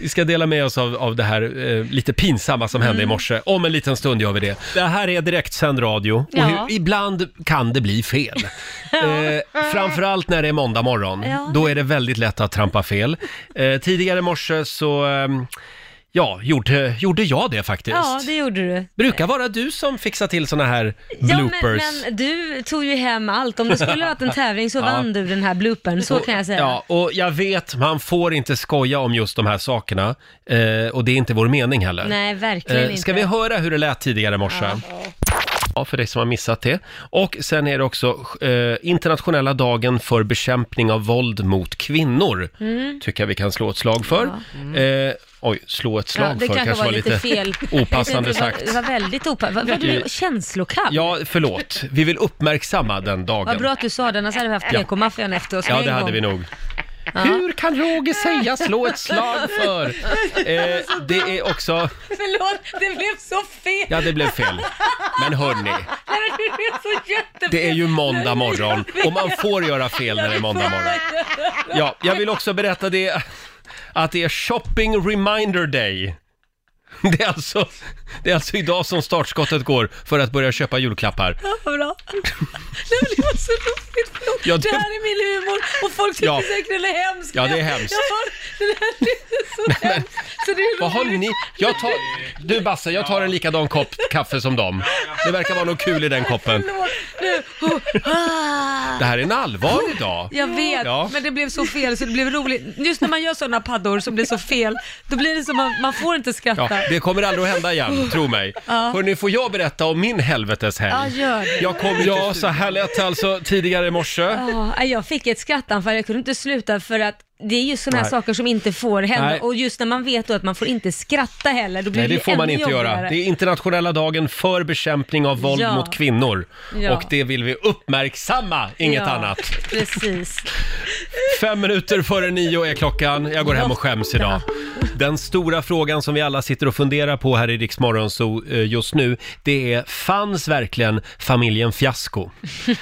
Speaker 1: vi ska dela med oss av, av det här eh, lite pinsamma som
Speaker 2: Mm.
Speaker 1: hände i morse. Om en liten stund gör vi det. Det här är direktsänd radio och
Speaker 2: Ja.
Speaker 1: hur, ibland kan det bli
Speaker 2: (laughs)
Speaker 1: fel. Eh, framförallt när det är måndag morgon.
Speaker 2: Ja.
Speaker 1: Då är det väldigt lätt att trampa fel. Eh, tidigare i morse så eh, Ja, gjorde, gjorde jag det faktiskt.
Speaker 2: Ja, det gjorde du.
Speaker 1: Brukar vara du som fixar till såna här
Speaker 2: Ja,
Speaker 1: bloopers.
Speaker 2: men, men du tog ju hem allt. Om det skulle ha varit en tävling så
Speaker 1: Ja.
Speaker 2: vann du den här bloopern, så kan jag säga.
Speaker 1: Ja, och jag vet, man får inte skoja om just de här sakerna. Eh, och det är inte vår mening heller.
Speaker 2: Nej, verkligen
Speaker 1: Eh,
Speaker 2: inte.
Speaker 1: Ska vi höra hur det lät tidigare i morse?
Speaker 2: Ja.
Speaker 1: Ja, för dig som har missat det. Och sen är det också eh, internationella dagen för bekämpning av våld mot kvinnor.
Speaker 2: Mm.
Speaker 1: Tycker jag vi kan slå ett slag för. Eh, oj, slå ett slag
Speaker 2: Ja, det
Speaker 1: för
Speaker 2: kanske, var
Speaker 1: (laughs)
Speaker 2: lite fel.
Speaker 1: opassande
Speaker 2: (laughs) det var, Det
Speaker 1: sagt.
Speaker 2: var väldigt opassande. Var, var du känslokall?
Speaker 1: Ja, förlåt. Vi vill uppmärksamma den dagen.
Speaker 2: Vad bra att du sa det, annars hade vi haft
Speaker 1: Ja.
Speaker 2: PK-maffian efter oss
Speaker 1: Ja,
Speaker 2: med
Speaker 1: det
Speaker 2: en
Speaker 1: hade
Speaker 2: gång.
Speaker 1: vi nog.
Speaker 2: Ja.
Speaker 1: Hur kan Roger säga slå
Speaker 2: (laughs)
Speaker 1: ett slag för? Eh, det är också...
Speaker 2: Förlåt, det blev så fel!
Speaker 1: Ja, det blev fel. Men hörni,
Speaker 2: Nej, men det blev så jättefel!
Speaker 1: det är ju måndag morgon och man får göra fel när det är måndag morgon. Ja, jag vill också berätta det att det är shopping reminder day. Det är, alltså, det är alltså idag som startskottet går för att börja köpa julklappar.
Speaker 2: Ja, vad bra. Nej, men det var så roligt, förlåt.
Speaker 1: Ja,
Speaker 2: det...
Speaker 1: det-
Speaker 2: här är min humor och folk tycker
Speaker 1: Ja.
Speaker 2: säkert den är hemsk.
Speaker 1: Ja, det är hemskt.
Speaker 2: Ja, den här är
Speaker 1: (laughs)
Speaker 2: så hemsk. Så det är
Speaker 1: Vad har ni? Jag tar... Du Basse, jag tar en likadan kopp kaffe som dem. Det verkar vara något kul i den koppen.
Speaker 2: Förlåt, nu. Oh, ah.
Speaker 1: Det här är en allvarlig dag.
Speaker 2: Jag vet,
Speaker 1: Ja.
Speaker 2: men det blev så fel så det blev roligt. Just när man gör sådana paddor som blir så fel, då blir det som att man får inte
Speaker 1: Ja,
Speaker 2: skratta.
Speaker 1: det kommer aldrig att hända igen, tro mig.
Speaker 2: (laughs) Ja.
Speaker 1: Hörrni, får jag berätta om min helveteshelg?
Speaker 2: Ja, gör det.
Speaker 1: Jag kom ja, så här lät det alltså tidigare i morse.
Speaker 2: Ja, Ah, jag fick ett skrattanfall, jag kunde inte sluta för att det är ju sådana här
Speaker 1: Nej.
Speaker 2: saker som inte får hända
Speaker 1: Nej.
Speaker 2: och just när man vet då att man får inte skratta heller, då blir
Speaker 1: Nej, det får man
Speaker 2: ännu
Speaker 1: inte göra.
Speaker 2: jobbigare.
Speaker 1: Det är internationella dagen för bekämpning av våld
Speaker 2: Ja.
Speaker 1: mot kvinnor.
Speaker 2: Ja.
Speaker 1: Och det vill vi uppmärksamma, inget
Speaker 2: Ja,
Speaker 1: annat.
Speaker 2: Precis.
Speaker 1: Fem minuter före nio är klockan. Jag går hem och skäms idag. Den stora frågan som vi alla sitter och funderar på här i Rix Morgon Zoo, eh, just nu, det är fanns verkligen
Speaker 15: (laughs)
Speaker 1: familjen Fiasko?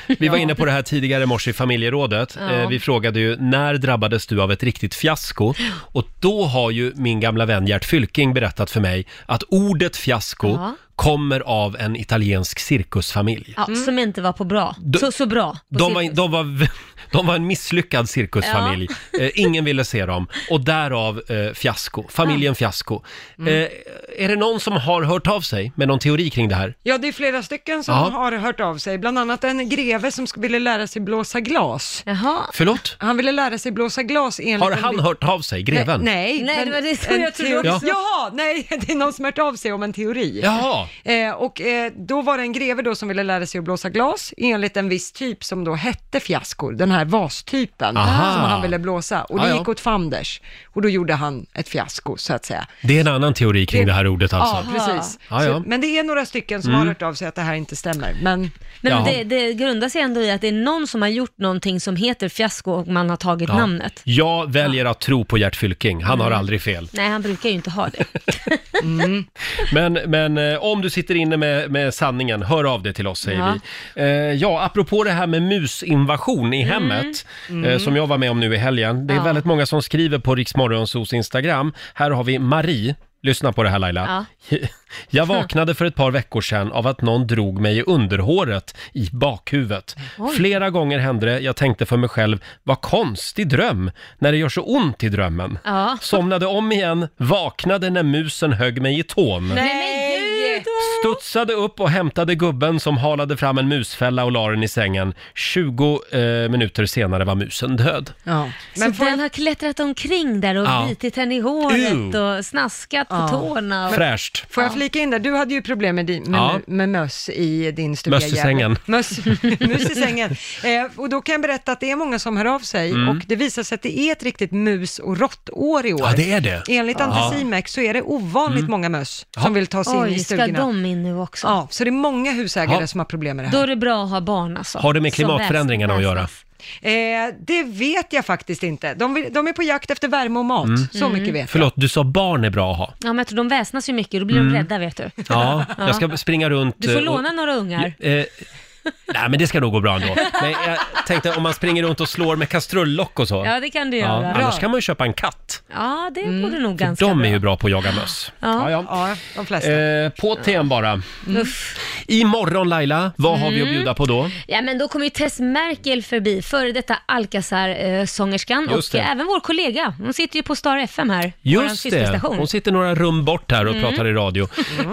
Speaker 1: Vi var
Speaker 15: Ja.
Speaker 1: inne på det här tidigare i morse i familjerådet.
Speaker 15: Ja.
Speaker 1: Eh, Vi frågade ju när drabbades du av ett riktigt fiasko? Och då har ju min gamla vän Gert Fylking berättat för mig att ordet fiasko
Speaker 2: Ja.
Speaker 1: kommer av en italiensk cirkusfamilj.
Speaker 2: Ja,
Speaker 6: Mm.
Speaker 2: Som inte var på bra. så, så bra. på
Speaker 1: De
Speaker 2: sitt-
Speaker 1: var, de, var, (laughs) de var en misslyckad cirkusfamilj. (laughs) Eh, ingen ville se dem. Och därav eh, fiasko. Familjen Fiasko.
Speaker 6: Mm.
Speaker 1: Eh, är det någon som har hört av sig med någon teori kring det här?
Speaker 6: Ja, det är flera stycken som
Speaker 1: Ja.
Speaker 6: har hört av sig, bland annat en greve som sk- ville lära sig blåsa glas.
Speaker 1: Förlåt?
Speaker 6: Han ville lära sig blåsa glas enligt...
Speaker 1: Har
Speaker 6: en
Speaker 1: han
Speaker 6: bi-
Speaker 1: hört av sig, greven?
Speaker 6: Nej,
Speaker 2: Nej,
Speaker 6: men
Speaker 2: det var det som
Speaker 6: en
Speaker 2: jag trodde
Speaker 6: teori-
Speaker 2: också.
Speaker 6: Jaha, nej, (laughs) det är någon som hört av sig om en teori.
Speaker 1: Jaha.
Speaker 6: Eh, och eh, då var det en greve då som ville lära sig att blåsa glas enligt en viss typ som då hette fiaskor, den här vastypen
Speaker 1: Aha.
Speaker 6: som han ville blåsa. Och det
Speaker 1: Ja, ja.
Speaker 6: gick åt fanders och då gjorde han ett fiasko så att säga.
Speaker 1: Det är en annan teori kring det, här ordet alltså.
Speaker 6: Ja, precis.
Speaker 1: Ja, ja.
Speaker 6: Så, men det är några stycken som
Speaker 1: Mm.
Speaker 6: har hört av sig att det här inte stämmer. Men...
Speaker 2: Nej, men
Speaker 1: Jaha.
Speaker 2: det, det grundar sig ändå i att det är någon som har gjort någonting som heter fiasko och man har tagit
Speaker 1: Ja.
Speaker 2: namnet.
Speaker 1: Jag väljer att tro på Gert Fylking. Han har aldrig fel.
Speaker 2: Nej, han brukar ju inte
Speaker 1: (laughs)
Speaker 2: ha det.
Speaker 1: Men, men eh, om du sitter inne med, med sanningen, hör av dig till oss säger
Speaker 2: Ja.
Speaker 1: vi. Eh, ja, apropå det här med musinvasion i hemmet, Eh,
Speaker 15: Mm.
Speaker 1: som jag var med om nu i helgen. Det är
Speaker 15: Ja.
Speaker 1: väldigt många som skriver på Riksmorgonsos Instagram. Här har vi Marie. Lyssna på det här Laila. (laughs) Jag vaknade för ett par veckor sedan av att någon drog mig i underhåret i bakhuvudet.
Speaker 15: Oj.
Speaker 1: Flera gånger hände det. Jag tänkte för mig själv, vad konstig dröm, när det gör så ont i drömmen.
Speaker 2: Ja. (laughs)
Speaker 1: Somnade om igen, vaknade när musen högg mig i tån.
Speaker 2: Nej, men gud!
Speaker 1: Studsade upp och hämtade gubben som halade fram en musfälla och la den i sängen. 20 eh, minuter senare var musen död.
Speaker 2: så den har klättrat omkring där och
Speaker 1: Ja.
Speaker 2: bitit henne i håret
Speaker 1: Ew.
Speaker 2: och snaskat på
Speaker 6: Ja.
Speaker 2: tårna. Och...
Speaker 1: Fräscht.
Speaker 6: Får jag flika in där, du hade ju problem med, din, med,
Speaker 1: Ja.
Speaker 6: med möss i din stuga.
Speaker 1: Möss i sängen.
Speaker 6: Möss, möss (laughs) i sängen. Eh, och då kan jag berätta att det är många som hör av sig
Speaker 1: Mm.
Speaker 6: och det visar sig att det är ett riktigt mus och råttår i år.
Speaker 1: Ja, det är det.
Speaker 6: Enligt
Speaker 1: Ja.
Speaker 6: Anticimex så är det ovanligt
Speaker 1: Mm.
Speaker 6: många möss
Speaker 1: Ja.
Speaker 6: som vill ta sig in
Speaker 2: Oj,
Speaker 6: i
Speaker 2: ska
Speaker 6: stugorna.
Speaker 2: de in nu också?
Speaker 6: Ja, så det är många husägare
Speaker 1: Ja.
Speaker 6: som har problem med det här.
Speaker 2: Då är det bra att ha barn alltså.
Speaker 1: Har det med
Speaker 2: Som
Speaker 1: klimatförändringarna att
Speaker 2: väsnas.
Speaker 1: göra?
Speaker 6: Eh, det vet jag faktiskt inte. De, vill, de är på jakt efter värme och mat,
Speaker 1: Mm.
Speaker 6: så mycket vet
Speaker 1: Förlåt, du sa barn är bra att ha.
Speaker 2: Ja, men jag tror de väsnas ju mycket, då blir
Speaker 1: Mm.
Speaker 2: de rädda vet du. (laughs)
Speaker 1: Ja, jag ska springa runt.
Speaker 2: Du får
Speaker 1: eh,
Speaker 2: låna några ungar.
Speaker 1: Eh, (laughs) nej, men det ska nog gå bra
Speaker 2: (laughs)
Speaker 1: ändå. Men jag tänkte om man springer runt och slår med kastrullock och så.
Speaker 2: Ja, det kan du göra. Bra.
Speaker 1: annars kan man ju köpa en katt.
Speaker 2: Ja, det
Speaker 6: Mm.
Speaker 2: borde nog ganska
Speaker 1: De
Speaker 2: bra.
Speaker 1: är ju bra på att jaga möss.
Speaker 2: Ja.
Speaker 1: ja.
Speaker 6: de
Speaker 1: Eh, på TN bara. Imorgon Laila, vad har vi att
Speaker 2: Mm.
Speaker 1: bjuda på då?
Speaker 2: Ja, men då kommer ju Tess Merkel förbi, före detta Alcazar-sångerskan
Speaker 1: Just
Speaker 2: och
Speaker 1: det.
Speaker 2: eh, även vår kollega. Hon sitter ju på Star FM här, vår
Speaker 1: Just det,
Speaker 2: systerstation.
Speaker 1: hon sitter några rum bort här och
Speaker 2: Mm.
Speaker 1: pratar i radio.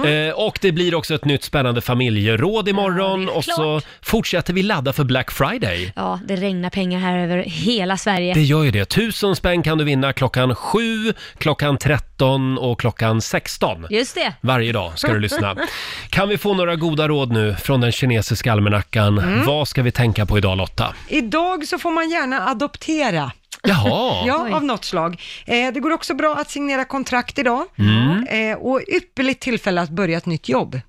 Speaker 1: Eh, och det blir också ett nytt spännande familjeråd imorgon och så fortsätter vi ladda för Black Friday.
Speaker 2: Ja, det regnar pengar här över hela Sverige.
Speaker 1: Det gör ju det. Tusen spänn kan du vinna klockan 7, klockan 13 och klockan 16.
Speaker 2: Just det.
Speaker 1: Varje dag ska du lyssna. Kan vi få några goda råd nu från den kinesiska almanackan?
Speaker 6: Mm.
Speaker 1: Vad ska vi tänka på idag Lotta?
Speaker 6: Idag så får man gärna adoptera.
Speaker 1: Jaha. Oj.
Speaker 6: (laughs) ja, av något slag. Eh, det går också bra att signera kontrakt idag
Speaker 1: Mm.
Speaker 6: eh, och ypperligt tillfälle att börja ett nytt jobb. Mm.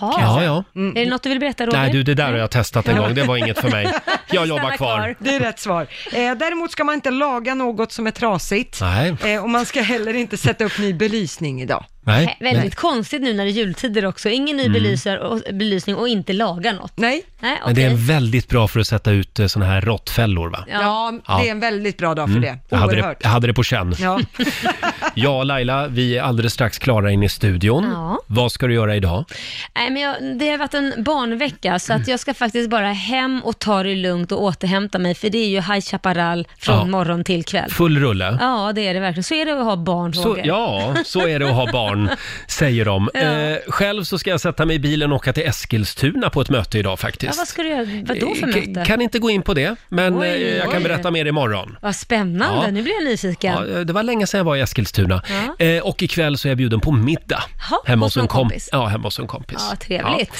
Speaker 2: Jaha.
Speaker 1: Ja, ja.
Speaker 2: Är det något du vill berätta Roger?
Speaker 1: Nej du, det där har jag testat en gång. Det
Speaker 2: (laughs)
Speaker 1: var inget för mig. Jag jobbar
Speaker 2: Stanna
Speaker 1: kvar.
Speaker 6: Det är rätt svar. Eh, däremot ska man inte laga något som är trasigt
Speaker 1: Nej.
Speaker 6: eh, och man ska heller inte sätta upp ny belysning idag.
Speaker 1: Nej.
Speaker 2: Hä- Väldigt konstigt nu när det är jultider också. Ingen ny
Speaker 1: Mm.
Speaker 2: belysar och, belysning och inte laga något.
Speaker 6: Nej.
Speaker 2: Nej,
Speaker 1: Men det är
Speaker 2: okej.
Speaker 1: väldigt bra för att sätta ut eh, såna här råttfällor va?
Speaker 6: Ja, det är en väldigt bra dag för
Speaker 1: Mm.
Speaker 6: det.
Speaker 1: Jag hade det,
Speaker 6: Oerhört.
Speaker 1: jag hade det på känn.
Speaker 6: Ja.
Speaker 1: Ja, Laila, vi är alldeles strax klara in i studion.
Speaker 2: Ja.
Speaker 1: Vad ska du göra idag?
Speaker 2: (laughs) Nej, men jag, det har varit en barnvecka så att jag ska faktiskt bara hem och ta det lugnt och återhämta mig för det är ju High Chaparral från
Speaker 1: Ja.
Speaker 2: morgon till kväll.
Speaker 1: Full rulle.
Speaker 2: Ja, det är det verkligen. Så är det att ha barn,
Speaker 1: Så,
Speaker 2: Roger.
Speaker 1: ja, så är det att ha
Speaker 2: (laughs)
Speaker 1: barn, säger de.
Speaker 2: Ja.
Speaker 1: Eh, själv så ska jag sätta mig i bilen och åka till Eskilstuna på ett möte idag
Speaker 2: Ja,
Speaker 1: faktiskt.
Speaker 2: vad ska du göra? Vad då för
Speaker 1: Eh, ka-
Speaker 2: möte?
Speaker 1: Kan inte gå in på det, men
Speaker 2: Oj,
Speaker 1: eh, jag kan
Speaker 2: oj.
Speaker 1: berätta mer imorgon.
Speaker 2: Vad spännande,
Speaker 1: Ja.
Speaker 2: nu blir jag nyfiken.
Speaker 1: Ja, eh, det var länge sedan jag var i Eskilstuna.
Speaker 2: Ja.
Speaker 1: Eh, och ikväll så är jag bjuden på middag.
Speaker 2: Jaha, hos någon
Speaker 1: komp-
Speaker 2: kompis.
Speaker 1: Ja, hemma hos en kompis.
Speaker 2: Ja, trevligt.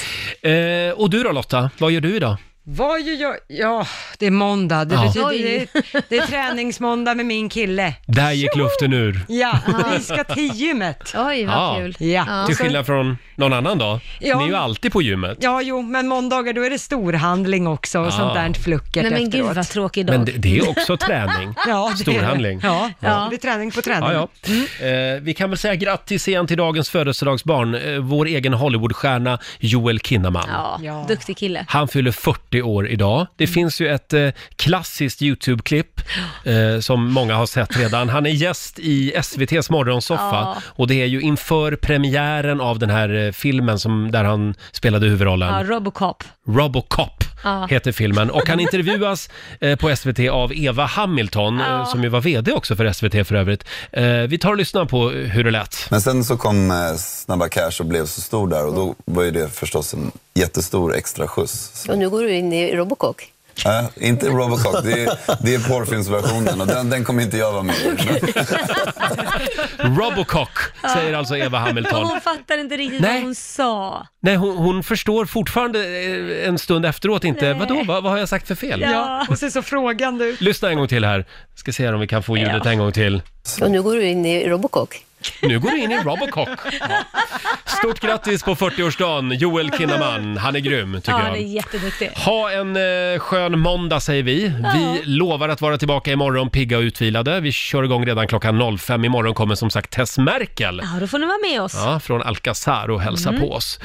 Speaker 1: Ja. Eh, och du då Lotta, vad gör du idag?
Speaker 6: Var ju jag, ja, det är måndag. Det,
Speaker 1: Ja.
Speaker 6: betyder,
Speaker 1: Oj.
Speaker 6: det, är- det är träningsmåndag med min kille.
Speaker 1: Där gick luften ur.
Speaker 6: Ja, vi ska till gymmet.
Speaker 2: Oj,
Speaker 1: Ja.
Speaker 6: Ja.
Speaker 1: Till skillnad från någon annan dag.
Speaker 6: Ja.
Speaker 1: Ni är ju alltid på gymmet.
Speaker 6: Ja, jo, men måndagar då är det storhandling också och
Speaker 1: Ja.
Speaker 6: sånt där flucket
Speaker 2: Nej, men
Speaker 6: efteråt.
Speaker 2: gud, vad tråkig
Speaker 1: dag. Men det- det är också träning.
Speaker 6: (laughs) ja, det
Speaker 1: Storhandling.
Speaker 6: Är det. Ja,
Speaker 1: Ja.
Speaker 6: ja, det är träning på träning.
Speaker 1: Ja, ja.
Speaker 2: Mm.
Speaker 1: Eh, vi kan väl säga grattis igen till dagens födelsedagsbarn, eh, vår egen Hollywoodstjärna Joel Kinnaman.
Speaker 2: Ja, Mm. duktig kille.
Speaker 1: Han fyller 40 år idag. Det finns ju ett eh, klassiskt YouTube-klipp eh, som många har sett redan. Han är gäst i SVTs morgonsoffa
Speaker 2: Ja.
Speaker 1: och det är ju inför premiären av den här eh, filmen som, där han spelade huvudrollen.
Speaker 2: Ja, Robocop.
Speaker 1: Robocop
Speaker 2: Ja.
Speaker 1: heter filmen och han intervjuas eh, på SVT av Eva Hamilton eh,
Speaker 2: Ja.
Speaker 1: som ju var VD också för SVT för övrigt. Eh, Vi tar och lyssnar på hur det lät.
Speaker 12: Men sen så kom eh, Snabba Cash och blev så stor där och då var ju det förstås en jättestor extra skjuts.
Speaker 13: Och nu går du in i Robocop.
Speaker 12: Nej, inte Robocop, det är, det är porrfilmsversionen och den, den kommer inte jag vara med i.
Speaker 1: Robocop säger
Speaker 2: Ja.
Speaker 1: alltså Eva Hamilton.
Speaker 2: Hon fattar inte riktigt
Speaker 1: Nej.
Speaker 2: vad hon sa.
Speaker 1: Nej, hon, hon förstår fortfarande eh, en stund efteråt inte,
Speaker 2: Nej.
Speaker 1: vadå, vad, vad har jag sagt för fel?
Speaker 6: Ja, hon ser så frågande ut.
Speaker 1: Lyssna en gång till här, ska se här om vi kan få ljudet en gång till.
Speaker 13: Och nu går du in i Robocop.
Speaker 1: Nu går du in i
Speaker 2: (laughs)
Speaker 1: Robocop. Stort grattis på 40-årsdagen, Joel Kinnaman. Han är grym, tycker
Speaker 2: Ja,
Speaker 1: jag.
Speaker 2: det är jätteduktig.
Speaker 1: Ha en eh, skön måndag säger vi. Vi lovar att vara tillbaka imorgon pigga och utvilade. Vi kör igång redan klockan 05. Imorgon kommer som sagt Tess Merkel.
Speaker 2: Ja, då får ni vara med oss.
Speaker 1: Ja, från Alcazar och hälsa
Speaker 2: Mm.
Speaker 1: på oss.